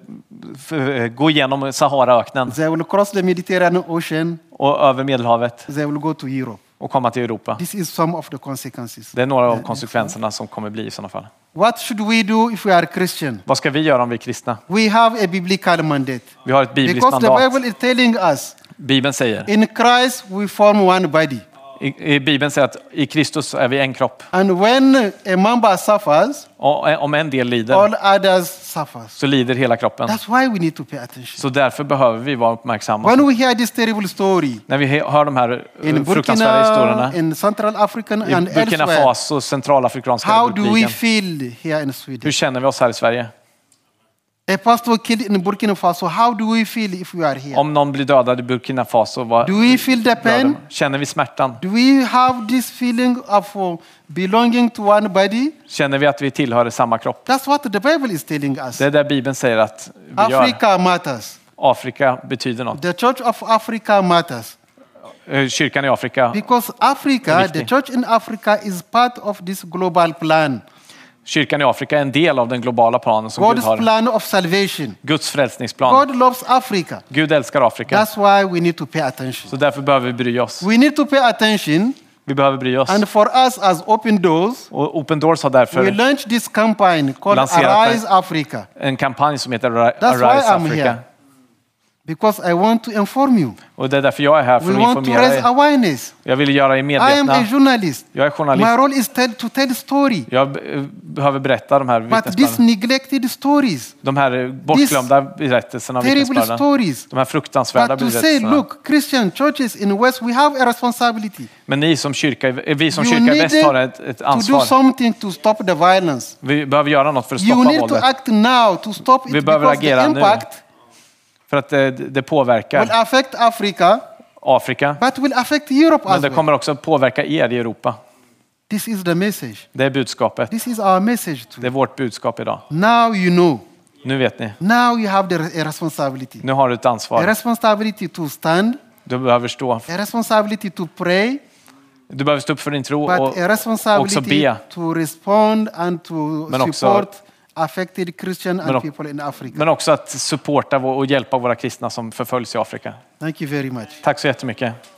S2: f- eh, gå igenom Saharaöknen
S3: they will cross the Mediterranean Ocean,
S2: och över Medelhavet
S3: they will go to Europe.
S2: och komma till Europa.
S3: This is some of the consequences.
S2: Det är några av konsekvenserna som kommer bli i sådana fall.
S3: What should we do if we are Christian?
S2: Vad ska vi göra om vi är kristna?
S3: We have a biblical mandate.
S2: Vi har ett bibliskt
S3: Because the Bible
S2: mandat.
S3: is telling us
S2: Bibeln säger,
S3: in Christ we form one body.
S2: i, i Bibeln säger att i Kristus är vi en kropp.
S3: And when a member suffers,
S2: Och eh, om en del lider
S3: all others suffers.
S2: så lider hela kroppen.
S3: That's why we need to pay attention.
S2: Så därför behöver vi vara uppmärksamma.
S3: When we hear this terrible story
S2: När vi he- hör de här eh,
S3: in
S2: fruktansvärda
S3: Burkina,
S2: historierna
S3: in Central African
S2: i
S3: and
S2: Burkina
S3: elsewhere,
S2: Faso och Centralafrikanska
S3: how do we
S2: republiken.
S3: feel here in
S2: Hur
S3: Sweden?
S2: känner vi oss här i Sverige?
S3: A pastor killed in Burkina Faso, how do we feel if we are here?
S2: Om någon blir dödad i Burkina Faso, vad
S3: Do we feel the
S2: gör de?
S3: pain?
S2: Känner vi smärtan?
S3: Do we have this feeling of uh, belonging to one body?
S2: Känner vi att vi tillhör samma kropp?
S3: That's what the Bible is telling us.
S2: Det är där Bibeln säger att vi gör.
S3: Africa matters.
S2: Afrika betyder något.
S3: The Church of Africa matters.
S2: Eh, Kyrkan i Afrika,
S3: Because Africa, the
S2: Richtig.
S3: church in Africa, is part of this global plan.
S2: kyrkan i Afrika är en del av den globala planen som Gud
S3: God's
S2: har.
S3: plan of salvation.
S2: Guds frälsningsplan.
S3: God loves Africa.
S2: Gud älskar Afrika.
S3: That's why we need to pay attention.
S2: Så därför behöver vi bry oss.
S3: We need to pay attention.
S2: Vi behöver bry oss.
S3: And for us as Open Doors,
S2: Och Open Doors har
S3: we
S2: därför
S3: launched this campaign called
S2: Lancerat det.
S3: Arise Africa.
S2: en kampanj som heter Ari-
S3: That's why
S2: Arise
S3: I'm
S2: Africa.
S3: here. Because I want to inform you.
S2: Och det är därför jag är här, för
S3: We
S2: att
S3: want to
S2: informera
S3: raise
S2: er.
S3: awareness.
S2: Jag vill göra er
S3: I am a
S2: medvetna.
S3: journalist.
S2: Jag är journalist.
S3: My role is tell, to tell story.
S2: Jag eh, behöver berätta de här
S3: But these
S2: vittnesbörden.
S3: neglected stories,
S2: De här eh, bortglömda berättelserna och
S3: terrible
S2: vittnesbörden.
S3: stories,
S2: De här fruktansvärda
S3: But to say,
S2: berättelserna.
S3: look, Christian churches in West, we have a responsibility.
S2: Men ni som kyrka, eh, vi som
S3: you
S2: kyrka i
S3: need
S2: väst har ett, ett
S3: to do
S2: ansvar.
S3: something to stop the violence.
S2: Vi behöver göra något för att
S3: You
S2: stoppa
S3: need to
S2: våldet.
S3: act now to stop it
S2: Vi behöver
S3: because the
S2: agera nu.
S3: impact
S2: För att det, det
S3: will
S2: påverkar
S3: affect Africa,
S2: Afrika.
S3: but will affect Europe
S2: Men
S3: as
S2: det
S3: well.
S2: kommer också påverka er i Europa.
S3: This is the message.
S2: Det är budskapet.
S3: This is our message to
S2: Det är vårt budskap idag.
S3: Now you know.
S2: Nu vet ni.
S3: Now you have the re- a responsibility.
S2: Nu har du ett
S3: A
S2: ansvar.
S3: responsibility to stand,
S2: Du behöver stå.
S3: a responsibility to pray,
S2: Du behöver stå upp för din tro
S3: but
S2: och
S3: a
S2: och också
S3: responsibility
S2: be.
S3: to respond and to
S2: Men också-
S3: support affected Christian and
S2: Men o-
S3: people in Africa.
S2: Men också att supporta vår- och hjälpa våra kristna som förföljs i Afrika.
S3: Thank you very much.
S2: Tack så jättemycket.